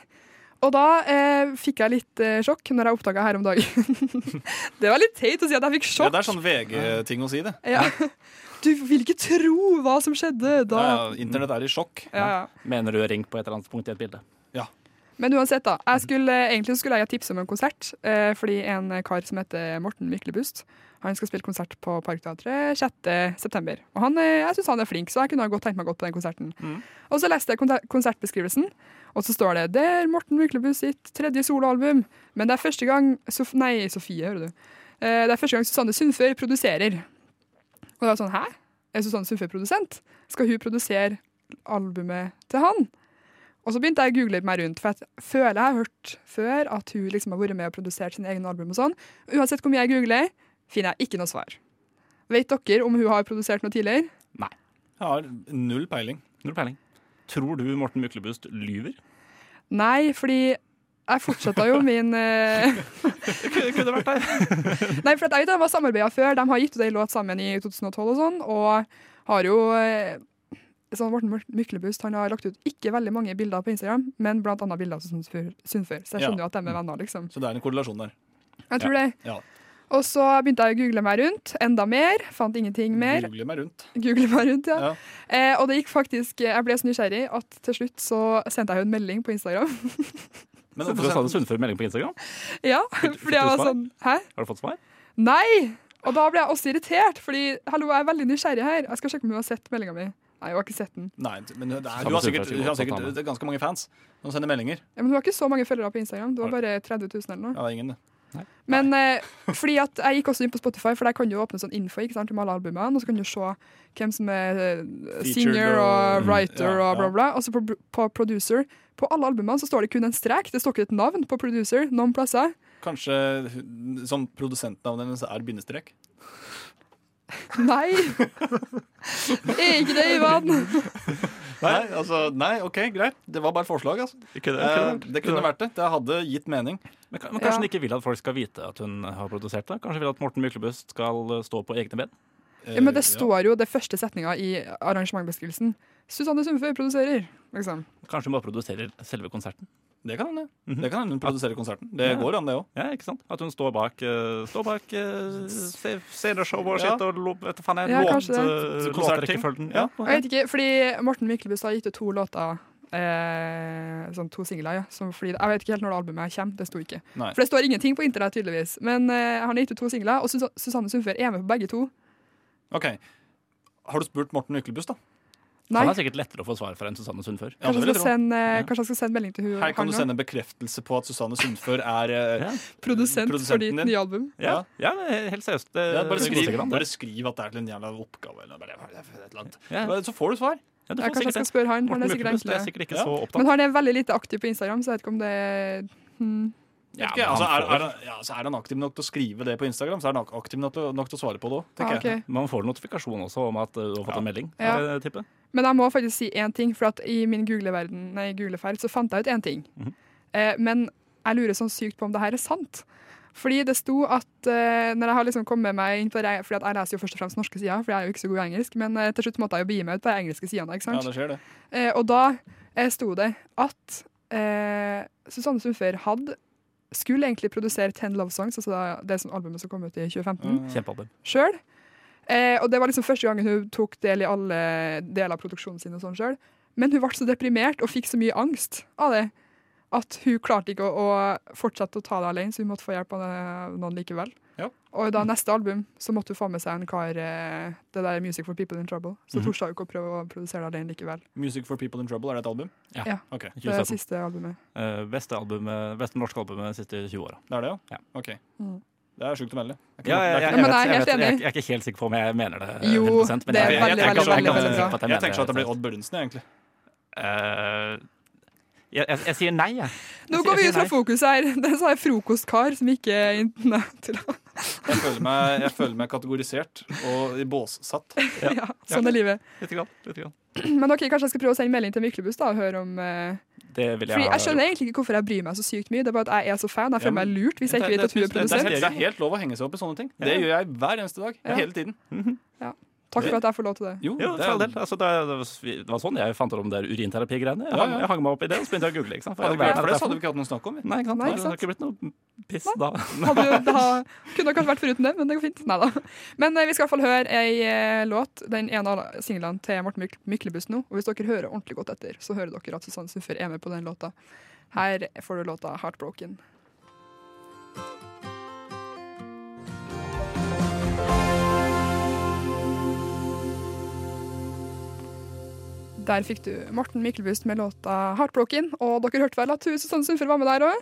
Speaker 3: Og da eh, fikk jeg litt eh, sjokk når jeg oppdaga her om dagen. *laughs* det var litt teit å si at jeg fikk
Speaker 5: Ja,
Speaker 3: sjokk.
Speaker 5: det er sånn VG-ting å si det.
Speaker 3: Ja. Du vil ikke tro hva som skjedde da.
Speaker 5: Ja, ja, Internett er i sjokk.
Speaker 3: Ja, ja.
Speaker 4: Mener du ring på et eller annet punkt i et bilde?
Speaker 3: Men uansett, da. Jeg skulle, egentlig så skulle jeg gi tips om en konsert, eh, fordi en kar som heter Morten Myklebust, han skal spille konsert på Parkteatret 6.9. Og han, eh, jeg syns han er flink, så jeg kunne ha godt tenkt meg godt på den konserten. Og så leste jeg konser- konsertbeskrivelsen, og så står det 'Det er Morten Myklebust sitt tredje soloalbum', men det er første gang Sof Nei, Sofie, hører du. Eh, Det er første gang Susanne Sundfør produserer. Og det var sånn 'hæ? Er Susanne Sundfør produsent? Skal hun produsere albumet til han?' Og så begynte jeg å google meg rundt, for jeg føler jeg har hørt før at hun liksom har vært med og produsert sine egne album og sånn. Uansett hvor mye jeg googler, finner jeg ikke noe svar. Vet dere om hun har produsert noe tidligere?
Speaker 5: Jeg har null peiling.
Speaker 4: Null peiling. Tror du Morten Myklebust lyver?
Speaker 3: Nei, fordi jeg fortsetter jo min eh,
Speaker 4: Kunne vært det.
Speaker 3: *laughs* Nei, for at jeg vet at de var samarbeida før. De har gitt ut ei låt sammen i 2012 og sånn, og har jo eh, sånn Morten Myklebust han har lagt ut ikke veldig mange bilder på Instagram, men blant annet bilder av Sundfør, Sundfør, så jeg skjønner jo at de er venner, liksom.
Speaker 5: Så det er en korrelasjon der.
Speaker 3: Jeg tror det.
Speaker 5: Ja.
Speaker 3: Og så begynte jeg å google meg rundt enda mer. Fant ingenting mer.
Speaker 5: Googler meg rundt.
Speaker 3: Google meg rundt, ja.
Speaker 5: Ja.
Speaker 3: Eh, og det gikk faktisk Jeg ble så nysgjerrig at til slutt så sendte jeg henne en melding på Instagram. *laughs*
Speaker 5: Men
Speaker 4: Sendte du
Speaker 5: hvorfor
Speaker 4: Sanne
Speaker 5: sendte-
Speaker 4: Sundfør melding på Instagram?
Speaker 3: ja,
Speaker 4: Fikk- fikk
Speaker 3: fordi jeg
Speaker 4: du
Speaker 3: var
Speaker 4: svar?
Speaker 3: sånn Hæ?
Speaker 4: Har du fått svar?
Speaker 3: Nei! Og da ble jeg også irritert, fordi hallo, jeg er veldig nysgjerrig her. Jeg skal sjekke om hun har sett meldinga mi. Nei, hun har ikke sett den.
Speaker 5: Nei, men det er,
Speaker 4: Sanne
Speaker 5: du
Speaker 4: Sundfør
Speaker 5: har sikkert,
Speaker 4: skulle
Speaker 5: du har
Speaker 4: godt tatt
Speaker 5: sikkert
Speaker 4: han.
Speaker 5: det er ganske mange fans som sender meldinger.
Speaker 3: Ja, men hun har ikke så mange følgere på Instagram. Det var bare 30 000 eller noe.
Speaker 5: Ja, det er ingen det.
Speaker 3: Men eh, fordi at jeg gikk også inn på Spotify, for der kan du åpne sånn info ikke sant, om alle albumene, og så kan du se hvem som er eh, singer
Speaker 5: og-
Speaker 3: og writer
Speaker 5: ja,
Speaker 3: og bla, bla. Og så på, på producer. På alle albumene så står det kun en strek. Det står ikke et navn på producer noen plasser.
Speaker 5: Kanskje hun- som produsentnavnet hennes er bindestrek?
Speaker 3: Nei!
Speaker 5: *laughs*
Speaker 3: er ikke det, Ivan?
Speaker 5: Nei, altså, nei, OK, greit. Det var bare et forslag, altså. Eh, det kunne vært det. Det hadde gitt mening.
Speaker 4: Men, ka- men kanskje
Speaker 3: Ja.
Speaker 4: hun ikke vil at folk skal vite at hun har produsert det? Kanskje hun vil at Morten Myklebust skal øh, stå på egne ben?
Speaker 5: Eh,
Speaker 3: Ja, men det står jo det første setninga i arrangementbeskrivelsen. Susanne Sundfør produserer, liksom.
Speaker 4: Kanskje hun bare produserer selve konserten?
Speaker 5: Det kan hende. Det kan hende hun produserer konserten. Det
Speaker 4: Mhm. Ja.
Speaker 5: går an, det òg.
Speaker 4: Ja, ikke sant? At hun står bak, øh, står bak øh, se- sceneshow og
Speaker 5: Ja.
Speaker 4: sitt og lo- vet du faen jeg,
Speaker 3: Ja,
Speaker 4: låt,
Speaker 3: kanskje det.
Speaker 4: øh,
Speaker 5: Konsertting.
Speaker 4: låtrekkefølgen.
Speaker 5: Ja.
Speaker 4: Ja.
Speaker 3: Og Jeg vet ikke, fordi Morten Myklebust har gitt ut to låter. Eh, sånn to singler, ja. Som fordi, jeg vet ikke helt når det albumet kommer. Det sto ikke.
Speaker 5: Nei.
Speaker 3: For det står ingenting på internett, tydeligvis. Men eh, han har gitt ut to singler, og Sus Susanne Sundfør er med på begge to.
Speaker 5: Ok. Har du spurt Morten Myklebust, da?
Speaker 3: Nei,
Speaker 4: Han er sikkert lettere å få svar fra enn Susanne Sundfør.
Speaker 5: Ja, det
Speaker 3: kanskje
Speaker 5: vil
Speaker 3: jeg
Speaker 5: jeg
Speaker 3: skal
Speaker 5: tro.
Speaker 3: sende, eh, kanskje jeg skal sende melding til hun,
Speaker 5: Her kan du
Speaker 3: nå.
Speaker 5: sende en bekreftelse på at Susanne Sundfør er eh,
Speaker 4: Ja.
Speaker 3: produsent for ditt
Speaker 5: produsenten din.
Speaker 3: nye album.
Speaker 4: Ja, ja helt seriøst. Det,
Speaker 5: ja, bare,
Speaker 4: det går
Speaker 5: skriv,
Speaker 4: sikkert an, det.
Speaker 5: bare skriv at det er til en jævla oppgave. Eller bare, bare, bare, et eller annet.
Speaker 4: Ja.
Speaker 5: Men Så får du svar.
Speaker 4: Ja, du
Speaker 3: Jeg kanskje
Speaker 4: får
Speaker 3: jeg
Speaker 4: sikkert
Speaker 3: skal
Speaker 4: det.
Speaker 3: spørre han. Han
Speaker 4: Morten
Speaker 3: er sikkert
Speaker 4: Myklebust er
Speaker 3: enklere.
Speaker 4: sikkert ikke
Speaker 5: Ja.
Speaker 4: så
Speaker 3: Men
Speaker 4: opptatt.
Speaker 3: han er veldig lite aktiv på Instagram, så jeg vet ikke om det er hmm.
Speaker 5: Ja,
Speaker 4: men
Speaker 5: altså,
Speaker 4: han
Speaker 5: er,
Speaker 4: får-
Speaker 5: er, han- ja, så er han aktiv nok til å skrive det på Instagram, så er han ak- aktiv nok til, å- nok til å svare på det òg.
Speaker 3: ah, ok.
Speaker 4: Man får notifikasjon også om at uh, du har fått en melding.
Speaker 3: Ja.
Speaker 4: er det tippet?
Speaker 3: Men jeg må faktisk si én ting, for at i min googleverden, nei, googleferd så fant jeg ut én ting.
Speaker 5: Mhm.
Speaker 3: eh, men jeg lurer sånn sykt på om det her er sant. Fordi det sto at eh, når jeg har liksom kommet meg inn på det, fordi at jeg leser jo først og fremst norske sider, for jeg er jo ikke så god i engelsk, men eh, til slutt måtte jeg jo begi meg ut på de engelske sidene. ikke
Speaker 5: Ja,
Speaker 3: sant?
Speaker 5: det skjer, det.
Speaker 3: Eh, og da eh, sto det at eh, Susanne Sundfør hadde skulle egentlig produsere Ten Love Songs, altså da- det som albumet som kom ut i 2015
Speaker 4: Mm. Kjempealbum.
Speaker 3: sjøl. Eh, og det var liksom første gangen hun tok del i alle deler av produksjonen sin. og sånn selv. Men hun ble så deprimert og fikk så mye angst av det at hun klarte ikke å, å fortsette å ta det alene, så hun måtte få hjelp av eh, noen likevel.
Speaker 5: Ja.
Speaker 3: Og da neste album så måtte hun få med seg en kar, eh, det der Music for People in Trouble. Så mm hun ikke å prøve å produsere det alene likevel.
Speaker 5: 'Music for People in Trouble' er det et album?
Speaker 4: Ja.
Speaker 3: Ja.
Speaker 5: Ok,
Speaker 3: Det er det
Speaker 4: 2017.
Speaker 3: siste albumet.
Speaker 4: Eh, beste, albumet, beste norske albumet de siste 20 åra.
Speaker 5: Det er det,
Speaker 4: Ja.
Speaker 5: ja? Ok.
Speaker 3: Mm.
Speaker 5: Det er sjukt å melde. Det er ikke
Speaker 4: Ja,
Speaker 5: noe- det er
Speaker 4: jeg,
Speaker 5: ikke
Speaker 4: jeg,
Speaker 5: noe-
Speaker 3: men jeg er
Speaker 4: vet-
Speaker 3: helt
Speaker 4: jeg,
Speaker 3: enig.
Speaker 4: jeg er ikke helt sikker på om jeg mener det eh,
Speaker 3: Jo,
Speaker 4: 100
Speaker 3: det er
Speaker 4: men jeg- jeg- jeg
Speaker 3: veldig,
Speaker 4: er ganske-
Speaker 3: veldig,
Speaker 4: jeg er ganske
Speaker 3: veldig
Speaker 4: sikker på
Speaker 3: bra.
Speaker 4: at jeg
Speaker 5: Jeg tenker
Speaker 4: mener
Speaker 5: sånn at det blir
Speaker 4: det.
Speaker 5: Odd Børundsen, egentlig.
Speaker 4: Eh, jeg, jeg, jeg sier nei, jeg.
Speaker 3: Nå
Speaker 4: Jeg
Speaker 3: går vi
Speaker 4: sier
Speaker 3: ut fra
Speaker 4: nei.
Speaker 3: fokus her. *laughs* Det sa jeg frokostkar som ikke Nei, *laughs* til
Speaker 5: Jeg føler meg, jeg føler meg kategorisert og i *laughs* båssatt.
Speaker 3: ja, Sånn er livet. *clears throat*
Speaker 4: Litt grann, litt grann.
Speaker 3: Men ok, kanskje jeg skal prøve å sende melding til Myklebust da, og høre om eh,
Speaker 4: Det vil jeg
Speaker 3: Fordi
Speaker 4: ha.
Speaker 3: jeg skjønner egentlig ikke hvorfor jeg bryr meg så sykt mye. Det er bare at jeg er så fan. Jeg
Speaker 5: Ja,
Speaker 3: føler meg
Speaker 5: men-
Speaker 3: lurt hvis jeg ikke
Speaker 4: det-
Speaker 3: vet at hun er
Speaker 4: det- det-
Speaker 5: Det er, helt,
Speaker 3: produsent.
Speaker 5: det er helt lov å henge seg opp i sånne ting. Det gjør jeg hver eneste dag.
Speaker 3: Ja.
Speaker 5: Hele tiden.
Speaker 3: Takk for at jeg får lov til det.
Speaker 5: Jo,
Speaker 4: Jo,
Speaker 5: det
Speaker 4: for all
Speaker 5: er,
Speaker 4: del. Altså, det, det var- det var sånn jeg fant ut om det der urinterapigreiene. Jeg,
Speaker 5: Ja,
Speaker 4: hang-
Speaker 5: ja.
Speaker 4: jeg hang meg opp i det, og så begynte jeg å google. Ikke sant? For jeg
Speaker 5: hadde det ikke vært
Speaker 4: hadde
Speaker 5: for det, så hadde
Speaker 4: lært
Speaker 5: vi ikke hatt noe å snakke om. vi.
Speaker 4: det. Nei, ikke sant?
Speaker 3: Nei, ikke
Speaker 4: Det hadde
Speaker 3: sant?
Speaker 4: ikke blitt noe piss da.
Speaker 3: Hadde jo, det ha- kunne kanskje vært foruten det, men det går fint. Neida. Men eh, vi skal i hvert fall høre ei eh, låt, den ene av singlene til Morten Myk Myklebust nå. Og hvis dere hører ordentlig godt etter, så hører dere at Susanne Suffer er med på den låta. Her får du låta 'Heartbroken'. Der fikk du Morten Myklebust med låta 'Heartbroken'. Og dere hørte vel at hun, Susanne Sundfør var med der òg?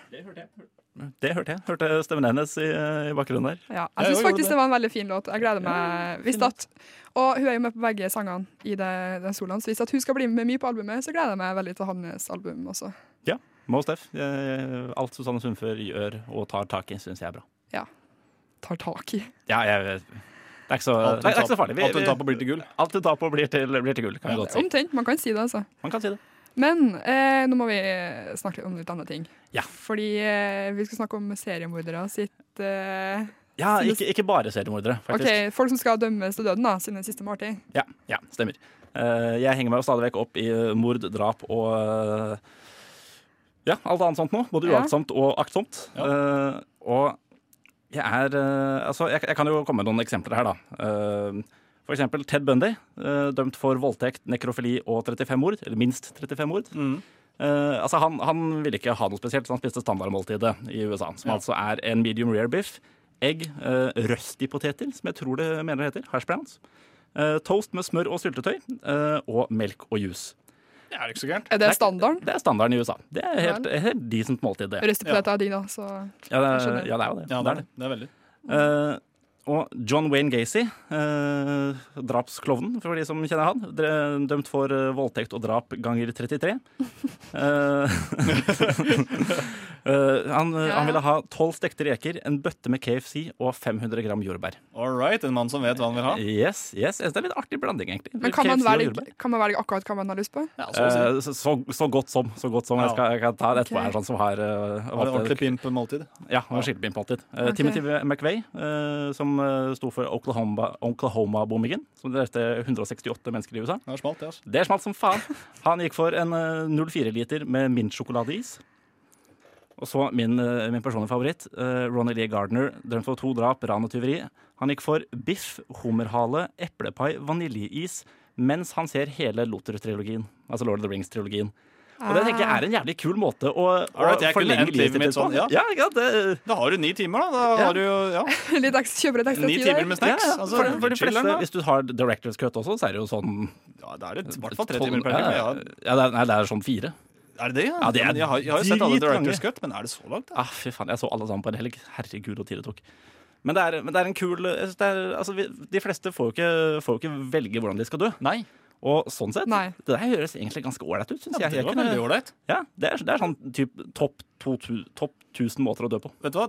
Speaker 4: Det hørte jeg. Hørte stemmen hennes i, i bakgrunnen der.
Speaker 3: Ja,
Speaker 5: Ja,
Speaker 3: jeg syns
Speaker 5: jo, jo,
Speaker 3: faktisk
Speaker 5: det-
Speaker 3: det var en veldig fin låt. Jeg gleder meg hvis at Og hun er jo med på begge sangene i det, den soloen, så hvis at hun skal bli med mye på albumet, så gleder jeg meg veldig til hans album også.
Speaker 4: Ja, Most F. Eh, Alt Susanne Sundfør gjør og tar tak i, syns jeg er bra.
Speaker 3: Tar tak i.
Speaker 4: Ja, jeg, det er ikke så,
Speaker 5: Alt
Speaker 4: det er ikke så
Speaker 5: hun
Speaker 4: farlig.
Speaker 5: tar-
Speaker 4: Vi-
Speaker 5: alt hun tar på, blir til gull.
Speaker 4: Alt hun tar på, blir til, blir til gull, kan vi godt si.
Speaker 3: Omtrent. Man kan si det, altså.
Speaker 4: Man kan si det.
Speaker 3: Men eh, nå må vi snakke litt om litt andre ting.
Speaker 4: Ja.
Speaker 3: Fordi eh, vi skal snakke om seriemordere sitt eh,
Speaker 4: Ja, ikke, ikke bare seriemordere,
Speaker 3: OK,
Speaker 4: faktisk.
Speaker 3: folk som skal dømmes til døden da, siden den siste måltid.
Speaker 4: Ja, ja, stemmer. Eh, jeg henger meg jo stadig vekk opp i eh, mord, drap og eh, Ja, alt annet sånt nå. Både
Speaker 3: Ja.
Speaker 4: uaktsomt og aktsomt. Eh, og jeg er eh, Altså, jeg, jeg kan jo komme med noen eksempler her, da. Eh, for eksempel Ted Bundy, eh, dømt for voldtekt, nekrofili og 35 mord. Eller minst 35 mord. Eh, altså han, han ville ikke ha noe spesielt, så han spiste standardmåltidet i USA. Som altså er en medium rare biff, egg, uh, røstipoteter, som jeg tror det mener det heter, hash browns, eh, toast med smør og syltetøy, eh, og melk og juice.
Speaker 5: Det er ikke så gærent.
Speaker 3: Er det standarden?
Speaker 4: Det er standarden i USA. Det er helt, helt decent måltid, det.
Speaker 3: Røstepoteter er digg, da. Så
Speaker 4: Ja, det er,
Speaker 3: skjønner.
Speaker 4: ja, det er jo det.
Speaker 5: Ja,
Speaker 4: det, er
Speaker 5: det
Speaker 4: det.
Speaker 5: er det. det er veldig.
Speaker 4: Eh, og John Wayne Gacy, eh, drapsklovnen for de som kjenner han, dre- dømt for eh, voldtekt og drap ganger 33. Eh, *laughs* eh, han,
Speaker 7: Ja, ja.
Speaker 4: han ville ha tolv stekte reker, en bøtte med KFC og 500 gram jordbær.
Speaker 5: All right, en mann som vet hva han vil ha.
Speaker 4: Yes, yes, yes, Det er litt artig blanding, egentlig.
Speaker 3: Men kan man,
Speaker 4: KFC og
Speaker 3: velge,
Speaker 4: jordbær.
Speaker 3: kan man velge akkurat Altså, hva man har lyst på?
Speaker 5: Ja, så å si.
Speaker 4: Eh, så, så, så godt som. Så godt som. Jeg,
Speaker 5: Ja.
Speaker 4: skal, jeg kan ta det etterpå
Speaker 3: Ok.
Speaker 4: her, sånn som har eh,
Speaker 5: Var det
Speaker 4: valgt-
Speaker 5: ordentlig pimp-måltid?
Speaker 4: Ja, han var skilpinn på alltid. Eh,
Speaker 3: Ok.
Speaker 4: Timothy McVeigh, eh, som eh, sto for Oklahoma- Oklahoma-bombingen, som drepte 168 mennesker i USA.
Speaker 5: Det er smalt, det. altså.
Speaker 4: Det smalt som
Speaker 3: *laughs*
Speaker 4: faen. Han gikk for en eh, 04-liter med mintsjokoladeis. Og så min, eh, min personlige favoritt, eh, Ronny Lee Gardner, dømt for to drap, ran og tyveri. Han gikk for biff, hummerhale, eplepai, vaniljeis, mens han ser hele Luther-trilogien, altså Lord of the Rings-trilogien. Og det tenker jeg er en jævlig kul måte å, å
Speaker 5: Alright, jeg kunne
Speaker 4: forlenge
Speaker 5: endt livet
Speaker 4: livet
Speaker 5: mitt
Speaker 4: sitt på.
Speaker 5: sånn, ja.
Speaker 4: Ja, ikke sant? det,
Speaker 5: Da har du ni timer, da. da
Speaker 4: Ja.
Speaker 5: har du jo, ja,
Speaker 3: *laughs* Litt ekstra, kjøper litt ekstra
Speaker 5: Ni
Speaker 3: tid
Speaker 5: timer
Speaker 3: der.
Speaker 4: ja,
Speaker 5: med snacks.
Speaker 4: ja.
Speaker 5: altså,
Speaker 4: For, for de
Speaker 5: chiller'n,
Speaker 4: fleste,
Speaker 5: da.
Speaker 4: hvis du har director's cut også, så er det jo sånn
Speaker 5: Ja, da er det i hvert fall tre timer per
Speaker 4: tolv-
Speaker 5: time.
Speaker 4: Ja,
Speaker 5: Ja.
Speaker 4: ja, det er, nei, det er sånn fire.
Speaker 5: Er det det?
Speaker 4: Ja, det er
Speaker 5: men jeg har, jeg har jo sett alle
Speaker 4: dritlange.
Speaker 5: Directors Cut, men er det så langt? Da?
Speaker 4: Ah, fy faen, jeg så alle sammen på en helg. Herregud, hvor tid det tok. Men det er, men det er en kul jeg synes det er, altså, vi, De fleste får jo, ikke, får jo ikke velge hvordan de skal dø.
Speaker 5: Nei.
Speaker 4: Og sånn sett,
Speaker 3: Nei.
Speaker 4: det der høres egentlig ganske ålreit ut, syns
Speaker 5: Ja,
Speaker 4: jeg.
Speaker 5: det
Speaker 4: jeg
Speaker 5: var
Speaker 4: kunne-
Speaker 5: veldig ålreit.
Speaker 4: ja, det, er, det er sånn typ, topp 2000 topp 1000 måter å dø på.
Speaker 5: Vet du hva?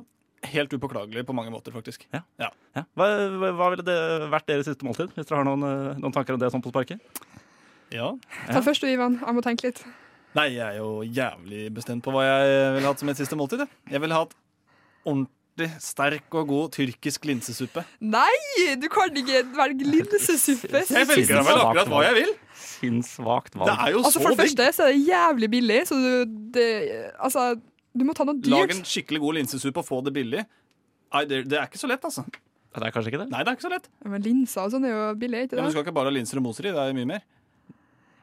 Speaker 5: Helt upåklagelig på mange måter, faktisk.
Speaker 4: Ja.
Speaker 5: Ja.
Speaker 4: Ja. Hva, hva- hva ville det vært deres siste måltid, hvis dere har noen, eh, noen tanker om det sånn på sparket?
Speaker 5: Ja.
Speaker 3: Ta først du, Ivan. Jeg må tenke litt.
Speaker 5: Nei, jeg er jo jævlig bestemt på hva jeg ville hatt som et siste måltid. jeg. Jeg ville hatt ordentlig sterk og god tyrkisk linsesuppe.
Speaker 3: Nei, du kan ikke velge linsesuppe.
Speaker 5: Jeg velger da vel akkurat hva jeg vil!
Speaker 4: Sinnssvakt
Speaker 5: Det
Speaker 4: valg.
Speaker 5: er jo
Speaker 3: Altså,
Speaker 5: så
Speaker 3: for det
Speaker 5: digg!
Speaker 3: første så er det jævlig billig, så du det, Altså, du må ta noe
Speaker 5: Lag en
Speaker 3: dyrt.
Speaker 5: skikkelig god linsesuppe og få det billig. Nei, det, det er ikke så lett, altså.
Speaker 4: Det er kanskje ikke det?
Speaker 5: Nei, det er ikke så lett.
Speaker 3: Ja, men linser og sånn er jo billig,
Speaker 5: Men
Speaker 3: ikke
Speaker 5: du
Speaker 3: det?
Speaker 5: skal ikke bare ha linser og moser i, det er jo mye mer.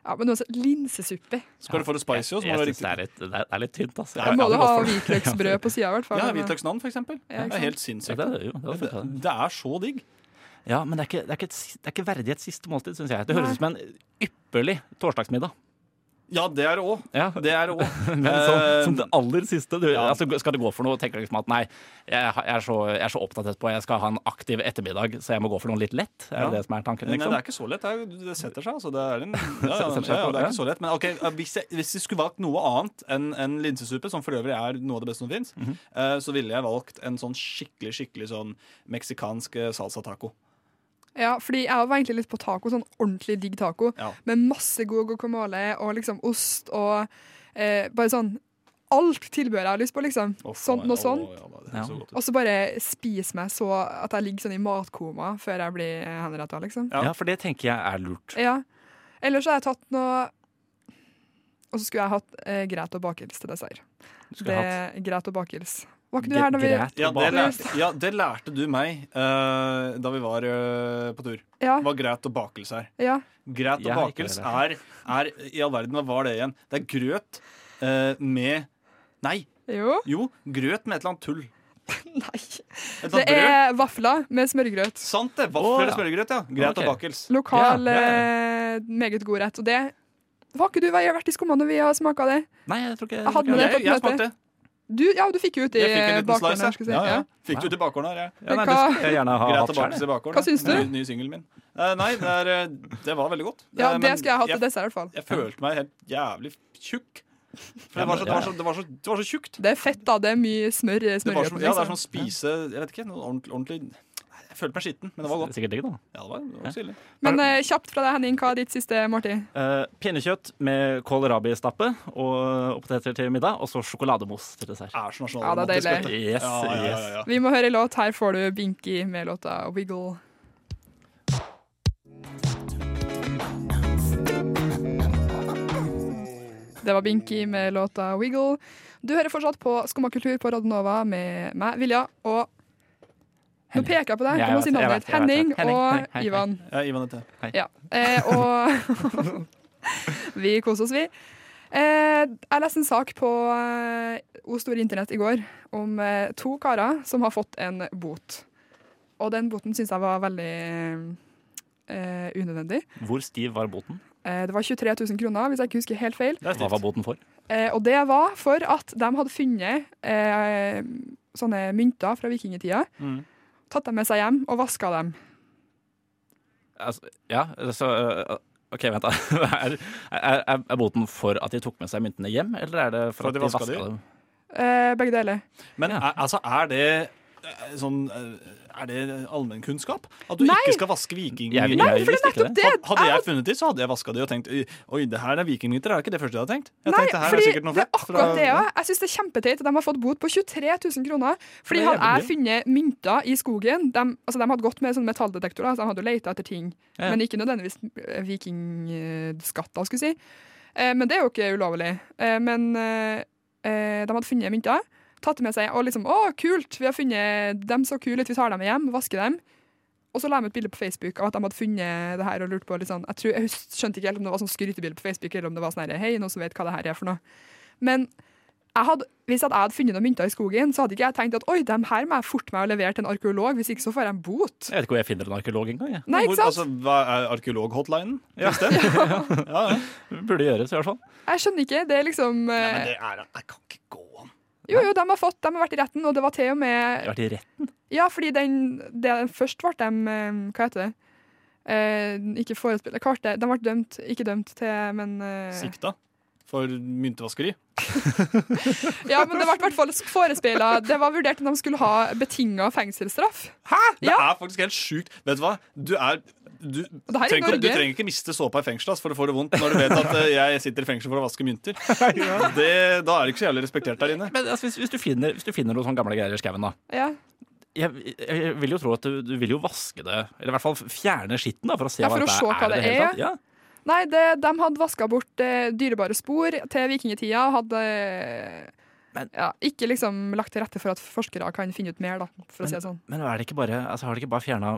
Speaker 3: Ja, men altså, linsesuppe.
Speaker 5: Skal du få det spicy også,
Speaker 4: Jeg,
Speaker 5: må du ha
Speaker 4: jeg synes
Speaker 5: riktig
Speaker 4: det er litt, det er, det er litt tynt, altså.
Speaker 3: Da må du
Speaker 4: det
Speaker 3: ha
Speaker 5: *laughs*
Speaker 4: går for det.
Speaker 3: hvitløksbrød på sida, i hvert fall.
Speaker 5: Ja, hvitløksnavn, for eksempel.
Speaker 3: Ja, ikke
Speaker 5: det er helt
Speaker 4: Ja,
Speaker 5: sinnssykt.
Speaker 4: det er, jo, det er,
Speaker 5: Det,
Speaker 4: fint,
Speaker 5: det er så digg.
Speaker 4: ja. ja, men det er ikke, det er ikke, et si- det er ikke verdig et siste måltid, syns jeg. Det høres ut som en ypperlig torsdagsmiddag.
Speaker 5: Ja, det er det òg.
Speaker 4: Ja,
Speaker 5: Det er det Eh, òg.
Speaker 4: *laughs* Men sånn- som, som det aller siste du,
Speaker 5: Ja.
Speaker 4: altså, Skal det gå for noe, tenker du liksom at nei, jeg, har- jeg, er så, jeg er så opptatt etterpå, jeg skal ha en aktiv ettermiddag, så jeg må gå for noe litt lett. Er
Speaker 5: Ja.
Speaker 4: det det som er tanken?
Speaker 5: Nei, det
Speaker 4: Liksom?
Speaker 5: er ikke så lett. Det, er, det setter seg, altså. Det er,
Speaker 4: *laughs*
Speaker 5: en, ja, ja,
Speaker 4: Setter seg
Speaker 5: ja, ja,
Speaker 4: på,
Speaker 5: det er
Speaker 4: ja.
Speaker 5: ikke så lett. Men ok, ja, hvis jeg, hvis jeg skulle valgt noe annet enn en linsesuppe, som for øvrig er noe av det beste som fins,
Speaker 4: Mhm.
Speaker 5: eh, så ville jeg valgt en sånn skikkelig skikkelig sånn meksikansk eh, salsa taco.
Speaker 3: Ja, fordi jeg var egentlig litt på taco, sånn ordentlig digg taco,
Speaker 5: Ja.
Speaker 3: med masse god guacamole og liksom ost og eh, bare sånn Alt tilbehøret jeg har lyst på, liksom.
Speaker 5: Å,
Speaker 3: sånt,
Speaker 5: faen,
Speaker 3: noe
Speaker 5: ja,
Speaker 3: sånt.
Speaker 5: å, ja, da, det
Speaker 4: Sånn
Speaker 5: høres
Speaker 4: Ja.
Speaker 5: så godt ut.
Speaker 3: Og så bare spis meg så at jeg ligger sånn i matkoma før jeg blir henretta, liksom.
Speaker 5: ja.
Speaker 4: Ja, for det tenker jeg er lurt.
Speaker 3: Ja. Ellers så har jeg tatt noe Og så skulle jeg hatt eh, greit og bakels til dessert.
Speaker 4: skulle hatt-
Speaker 3: Greit og bakels. Var ikke du her da vi
Speaker 4: Greit
Speaker 5: Ja
Speaker 4: og
Speaker 5: det,
Speaker 4: bak.
Speaker 5: lærte, ja, det lærte du meg eh, da vi var eh, på tur.
Speaker 3: Ja.
Speaker 5: Det var greit og bakelse her.
Speaker 3: ja.
Speaker 5: Grøt og
Speaker 4: Jeg har ikke
Speaker 5: bakels er,
Speaker 4: hørt
Speaker 5: er I all verden, hva var det igjen? Det er grøt eh, med Nei,
Speaker 3: Jo.
Speaker 5: jo, grøt med et eller annet tull.
Speaker 3: *laughs* Nei.
Speaker 5: Et eller
Speaker 3: Det
Speaker 5: annet brød.
Speaker 3: er vafler med smørgrøt.
Speaker 5: Sant det! Vafler
Speaker 4: Å,
Speaker 5: og
Speaker 4: ja.
Speaker 5: smørgrøt, ja. Grøt
Speaker 4: Ok.
Speaker 5: og bakels.
Speaker 3: Lokal,
Speaker 4: Ja, ja,
Speaker 3: eh, meget god rett. Og det Har ikke du vært i skumma når vi har smaka det?
Speaker 4: Nei, jeg tror ikke
Speaker 3: Jeg hadde
Speaker 4: tror
Speaker 3: det
Speaker 4: ikke-
Speaker 5: Jeg,
Speaker 3: fått
Speaker 5: jeg
Speaker 3: med
Speaker 5: smakte.
Speaker 3: Du, ja, du fikk jo ut i
Speaker 5: Jeg fikk en liten
Speaker 3: bakgrunnen.
Speaker 5: slice.
Speaker 3: her, skulle
Speaker 5: Ja,
Speaker 3: jeg si.
Speaker 5: ja.
Speaker 3: Ja.
Speaker 5: Fikk du til bakgården her, jeg.
Speaker 4: ja, nei,
Speaker 3: Men
Speaker 4: det
Speaker 3: hva-
Speaker 4: skulle jeg gjerne ha
Speaker 5: Grøt
Speaker 4: hatt
Speaker 5: og
Speaker 4: selv,
Speaker 5: bakels
Speaker 4: jeg.
Speaker 5: i bakgården.
Speaker 3: Hva syns
Speaker 5: ja.
Speaker 3: du?
Speaker 5: Ny, ny singelen min. Eh, nei, det, er, eh, det var veldig godt.
Speaker 3: Ja,
Speaker 5: Eh,
Speaker 3: det
Speaker 5: men
Speaker 3: skal jeg ha til
Speaker 5: jeg,
Speaker 3: dessert, i hvert fall.
Speaker 5: jeg følte meg helt jævlig tjukk.
Speaker 4: Ja,
Speaker 5: For det var
Speaker 4: men-
Speaker 5: så, det var så, det var så, det var så tjukt.
Speaker 3: Det er fett, da. Det er mye smør i
Speaker 5: Det var
Speaker 3: smørgrøten.
Speaker 5: som, ja, det er
Speaker 3: liksom.
Speaker 5: som å spise Jeg vet ikke, noe ordentlig, ordentlig Jeg følte meg skitten, men det var godt.
Speaker 4: Sikkert digg, da.
Speaker 5: Ja, det var, det var ikke så ille.
Speaker 3: Men eh, kjapt fra deg, Henning. Hva er ditt siste måltid?
Speaker 4: Eh, pinnekjøtt med kålrabistappe og, og poteter til middag, og så sjokolademos til dessert.
Speaker 5: Er så
Speaker 3: Ja, det er
Speaker 5: nasjonalromantisk,
Speaker 3: deilig.
Speaker 5: vet du.
Speaker 4: Yes,
Speaker 5: Ja, ja, ja,
Speaker 4: yes.
Speaker 5: ja.
Speaker 3: Vi må høre en låt. Her får du Binky med låta 'Wiggle'. Det var Binky med låta 'Wiggle'. Du hører fortsatt på Skumma kultur på Radionova med meg, Vilja, og Nå peker jeg på deg.
Speaker 4: Ja,
Speaker 3: Du
Speaker 4: jeg
Speaker 3: må
Speaker 4: vet,
Speaker 3: si
Speaker 4: jeg
Speaker 3: navnet
Speaker 4: vet,
Speaker 3: ditt.
Speaker 4: jeg vet, jeg
Speaker 3: Henning
Speaker 4: vet. Henning, hei,
Speaker 3: og
Speaker 4: hei, hei.
Speaker 3: Ivan.
Speaker 5: Ja, Ivan heter jeg.
Speaker 3: Ja. Eh, og *laughs* vi koser oss, vi. Eh, jeg leste en sak på eh, O Store Internett i går om eh, to karer som har fått en bot. Og den boten syns jeg var veldig eh, unødvendig.
Speaker 4: Hvor stiv var boten?
Speaker 3: Eh, det var 23 000 kroner, hvis jeg ikke husker helt feil.
Speaker 5: Det er
Speaker 4: Hva var
Speaker 5: stivt.
Speaker 4: boten for?
Speaker 3: Eh, og det var for at de hadde funnet eh, sånne mynter fra vikingtida,
Speaker 5: Mm.
Speaker 3: tatt dem med seg hjem og vaska dem.
Speaker 4: Altså, ja, så øh, OK, vent, da. *laughs* Er, er, er- er boten for at de tok med seg myntene hjem, eller er det for, at de vaska
Speaker 5: de?
Speaker 4: dem?
Speaker 3: Eh, begge deler.
Speaker 5: Men
Speaker 4: Ja.
Speaker 5: er, altså, er det eh, sånn eh, Er det allmennkunnskap? At du
Speaker 3: Nei.
Speaker 5: ikke skal vaske viking...
Speaker 4: Jeg vil- Nei, jeg for det er visste ikke nettopp
Speaker 3: det.
Speaker 5: Had- Hadde jeg funnet de, så hadde jeg vaska de og tenkt «Oi, Oi, det her er vikingmyter. Det er ikke det første jeg hadde tenkt. Jeg
Speaker 3: Nei,
Speaker 5: tenkte, her
Speaker 3: fordi
Speaker 5: er sikkert noe
Speaker 3: det er
Speaker 5: flott fra-
Speaker 3: akkurat det, ja. Jeg syns det er kjempeteit at de har fått bot på 23 000 kroner. Fordi
Speaker 5: Det er
Speaker 3: hadde jeg
Speaker 5: jævlig
Speaker 3: funnet mynter i skogen De, altså, de hadde gått med sånne metalldetektorer, så de hadde jo leita etter ting.
Speaker 4: Ja.
Speaker 3: Men ikke nødvendigvis eh, vikingskatter, skulle jeg si. Eh, Men det er jo ikke ulovlig. Eh, Men eh, eh, de hadde funnet mynter, tatt det med seg og liksom 'Å, kult! Vi har funnet dem så kule ut, vi tar dem med hjem, vasker dem.' Og så la de ut bilde på Facebook av at de hadde funnet det her og lurt på litt sånn Jeg, tror, jeg hus- skjønte ikke helt om det var sånn skrytebilde på Facebook, eller om det var sånn her, hei, noen som vet hva det her er for noe. Men jeg hadde, hvis at jeg hadde funnet noen mynter i skogen, så hadde ikke jeg tenkt at oi, dem her må jeg forte meg å levere til en arkeolog, hvis ikke så får jeg en bot.
Speaker 4: Jeg vet ikke hvor jeg finner en arkeolog engang. jeg.
Speaker 3: Nei,
Speaker 5: Hvor-
Speaker 3: ikke sant?
Speaker 5: Altså, hva er arkeolog-hotlinen?
Speaker 3: *laughs*
Speaker 5: Ja. ja,
Speaker 3: Eh.
Speaker 5: ja.
Speaker 4: Burde gjøres, i hvert fall.
Speaker 3: Jeg skjønner ikke. Det er liksom
Speaker 5: Nei, men
Speaker 3: eh,
Speaker 5: det er, jeg kan ikke gå an.
Speaker 3: Jo, jo, de har fått, de har vært i retten, og det var til og med
Speaker 4: Jeg har vært i rett.
Speaker 3: Ja, fordi den, det den først ble dem eh, Hva heter det? Eh, ikke forespill Hva ble det? De ble dømt, ikke dømt til, men eh,
Speaker 5: Sikta for myntevaskeri.
Speaker 3: Ja, men det ble i hvert fall forespeila Det var vurdert om de skulle ha betinga fengselsstraff.
Speaker 5: Det
Speaker 3: Ja.
Speaker 5: er faktisk helt sjukt. Vet du hva? Du er du,
Speaker 3: Og det her i
Speaker 5: trenger, ikke- du
Speaker 3: Norge.
Speaker 5: trenger ikke miste såpa i fengsel ass, for det får det vondt når du vet at eh, jeg sitter i fengsel for å vaske
Speaker 3: *laughs*
Speaker 5: mynter. Det, da er det ikke så jævlig respektert der inne.
Speaker 4: Men altså, hvis, hvis, du finner, hvis du finner noen sånne gamle greier i skauen, da.
Speaker 3: Ja.
Speaker 4: Jeg, jeg vil jo tro at du, du vil jo vaske det, eller i hvert fall fjerne skitten, da, for å se
Speaker 3: Ja,
Speaker 4: hva
Speaker 3: for å
Speaker 4: dette
Speaker 3: se hva
Speaker 4: i
Speaker 3: det
Speaker 4: hele
Speaker 3: er,
Speaker 4: tatt. Ja.
Speaker 3: Nei, det, de hadde vaska bort eh, dyrebare spor til vikingtida. Hadde
Speaker 4: Men-
Speaker 3: ja, ikke liksom lagt til rette for at forskere kan finne ut mer, da, for å si det sånn.
Speaker 4: Men er det ikke bare, altså, har de ikke bare fjerna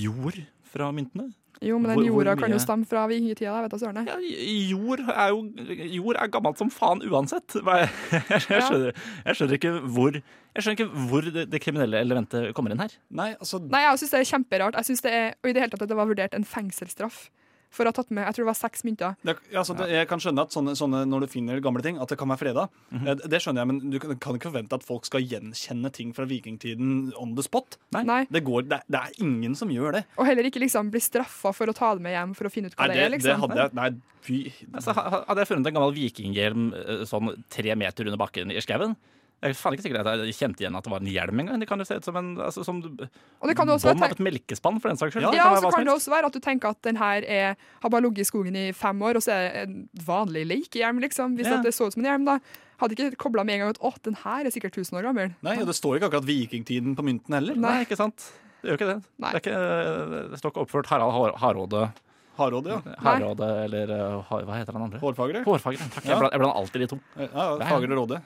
Speaker 4: jord fra myntene?
Speaker 3: Jo, men
Speaker 4: Hvor-
Speaker 3: den
Speaker 4: hvor
Speaker 3: jorda kan jo
Speaker 4: mye-
Speaker 3: stamme fra vikingtida, jeg vet da søren. jeg.
Speaker 4: Ja, jord er jo jord er gammelt som faen uansett. Hva *laughs* er- Jeg, jeg,
Speaker 3: Ja.
Speaker 4: skjønner, jeg skjønner ikke hvor, jeg skjønner ikke hvor det, det kriminelle elementet kommer inn her.
Speaker 5: Nei, altså
Speaker 3: Nei, jeg syns det er kjemperart. Jeg synes det er, Og i det hele tatt at det var vurdert en fengselsstraff for å ha tatt med Jeg tror det var seks mynter.
Speaker 5: det, er- altså, det, Jeg kan skjønne at sånne, sånne, når du finner gamle ting, at det kan være freda. Eh, Det skjønner jeg, men du kan, kan ikke forvente at folk skal gjenkjenne ting fra vikingtiden on the spot.
Speaker 3: Nei.
Speaker 5: Det, går, det, er- det er ingen som gjør det.
Speaker 3: Og heller ikke liksom bli straffa for å ta det med hjem for å finne ut hva
Speaker 5: Nei,
Speaker 3: det, er.
Speaker 5: det, det
Speaker 3: liksom.
Speaker 5: hadde jeg Nei, fy.
Speaker 4: Altså, ha- ha- hadde jeg funnet en gammel vikinghjelm eh, sånn tre meter under bakken i skauen jeg er faen ikke sikker at jeg kjente igjen at det var en hjelm engang. Det kan jo se ut som en altså, som
Speaker 3: Og det kan jo også være
Speaker 4: bånd av et melkespann, for den saks skyld.
Speaker 5: Ja,
Speaker 4: Det
Speaker 3: Ja,
Speaker 4: kan
Speaker 3: og så
Speaker 4: være hva som
Speaker 3: kan det
Speaker 4: helst.
Speaker 3: også være at du tenker at den her er, har bare ligget i skogen i fem år, og så er det en vanlig lekehjelm, liksom. Hvis
Speaker 4: Ja.
Speaker 3: at det så ut som en hjelm, da. Hadde ikke kobla med en gang at å, den her er sikkert 1000 år gammel.
Speaker 5: Nei, og det står ikke akkurat vikingtiden på mynten heller.
Speaker 4: Nei, ikke sant? Det gjør ikke det.
Speaker 3: Nei.
Speaker 4: Det, er ikke, det står ikke oppført Harald Har- Hardråde,
Speaker 5: Hardråde, ja.
Speaker 4: Hardråde eller eh, Har- hva heter den andre?
Speaker 5: Hårfagre.
Speaker 4: Hårfagre. Takk,
Speaker 5: Ja.
Speaker 4: jeg blander jeg blander alltid de to.
Speaker 5: Ja, ja,
Speaker 4: Nei.
Speaker 5: fagre råde.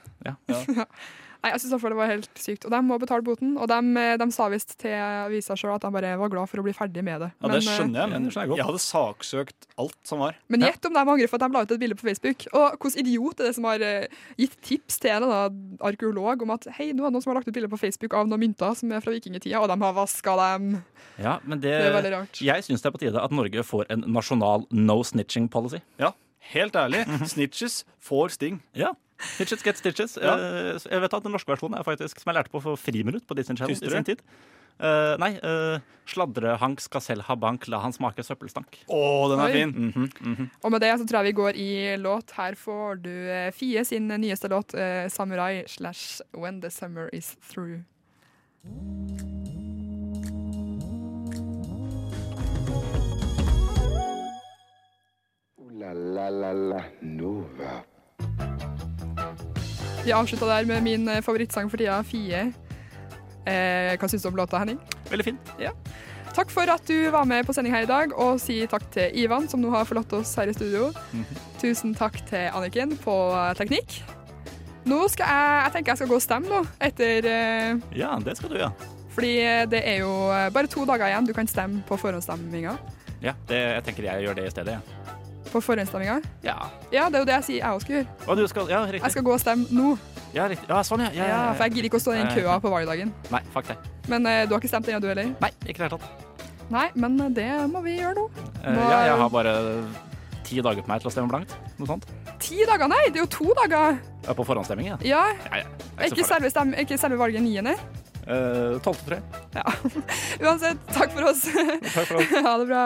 Speaker 3: Nei, jeg synes i hvert fall det var helt sykt. Og de må betale boten. Og de, eh, de sa visst til avisa sjøl at de bare var glad for å bli ferdig med det.
Speaker 5: Ja,
Speaker 3: Men,
Speaker 5: det skjønner jeg, men
Speaker 4: det skjønner jeg godt.
Speaker 5: jeg hadde saksøkt alt som var.
Speaker 3: eh, men gjett om de angrer for at de la ut et bilde på Facebook. Og hvilken idiot er det som har eh, gitt tips til en eller annen arkeolog om at hei, nå er det noen som har lagt ut bilde på Facebook av noen mynter som er fra vikingtida, og de har vaska dem.
Speaker 4: Ja, men det,
Speaker 3: Det er veldig rart.
Speaker 4: Jeg syns det er på tide at Norge får en nasjonal no snitching policy.
Speaker 5: Ja, helt ærlig. *laughs* Snitches får sting.
Speaker 4: Ja. Stitches get stitches.
Speaker 5: Ja.
Speaker 4: Eh, Jeg vet at Den norske versjonen er faktisk som jeg lærte på for friminutt på Disney Channel i
Speaker 5: Tystere?
Speaker 4: sin tid. Eh, nei. eh, Sladrehank skal selv ha bank, la han smake søppelstank.
Speaker 5: Å, den
Speaker 3: Oi.
Speaker 5: er fin!
Speaker 3: Og med det så tror jeg vi går i låt. Her får du eh, Fie sin nyeste låt, eh, 'Samurai' slash 'When the Summer Is Through'.
Speaker 2: Ooh la la la la Nova.
Speaker 3: Vi avslutta der med min eh, favorittsang for tida, Fie. Eh, hva syns du om låta, Henning?
Speaker 4: Veldig fint.
Speaker 3: Takk for at du var med på sending her i dag, og si takk til Ivan, som nå har forlatt oss her i studio. Tusen takk til Anniken på eh, teknikk. Nå skal jeg, jeg tenker jeg skal gå og stemme nå, etter eh,
Speaker 4: Ja, det skal du, ja.
Speaker 3: Fordi det er jo eh, bare to dager igjen du kan stemme på forhåndsstemminga.
Speaker 4: ja det, jeg tenker jeg gjør det i stedet. Ja.
Speaker 3: På forhåndsstemminga.
Speaker 4: Ja.
Speaker 3: Ja, det er jo det jeg sier jeg òg skulle gjøre.
Speaker 4: Og du skal, ja,
Speaker 3: Jeg
Speaker 4: riktig.
Speaker 3: skal gå og stemme nå,
Speaker 4: ja, riktig. ja, sånn, ja.
Speaker 3: ja,
Speaker 4: ja, ja,
Speaker 3: for
Speaker 4: ja.
Speaker 3: jeg gidder ikke å stå i den
Speaker 4: Nei.
Speaker 3: køa på valgdagen.
Speaker 4: Nei, fuck det.
Speaker 3: Men eh, du har ikke stemt ennå, du heller?
Speaker 4: Nei, ikke i det hele tatt.
Speaker 3: Nei, men eh, det må vi gjøre nå.
Speaker 4: Eh,
Speaker 3: Nå
Speaker 4: ja,
Speaker 3: er-
Speaker 4: jeg har bare ti dager på meg til å stemme blankt. Noe sånt.
Speaker 3: Ti dager, nei! Det er jo to dager!
Speaker 4: Ja, På forhåndsstemming, ja.
Speaker 3: Ja,
Speaker 4: ja, ja.
Speaker 3: er ikke selve, stem, er ikke selve valget niende.
Speaker 4: Eh, Tolvte, tror jeg.
Speaker 3: Ja. Uansett, takk for oss. *laughs*
Speaker 4: Takk for oss.
Speaker 3: ha det bra.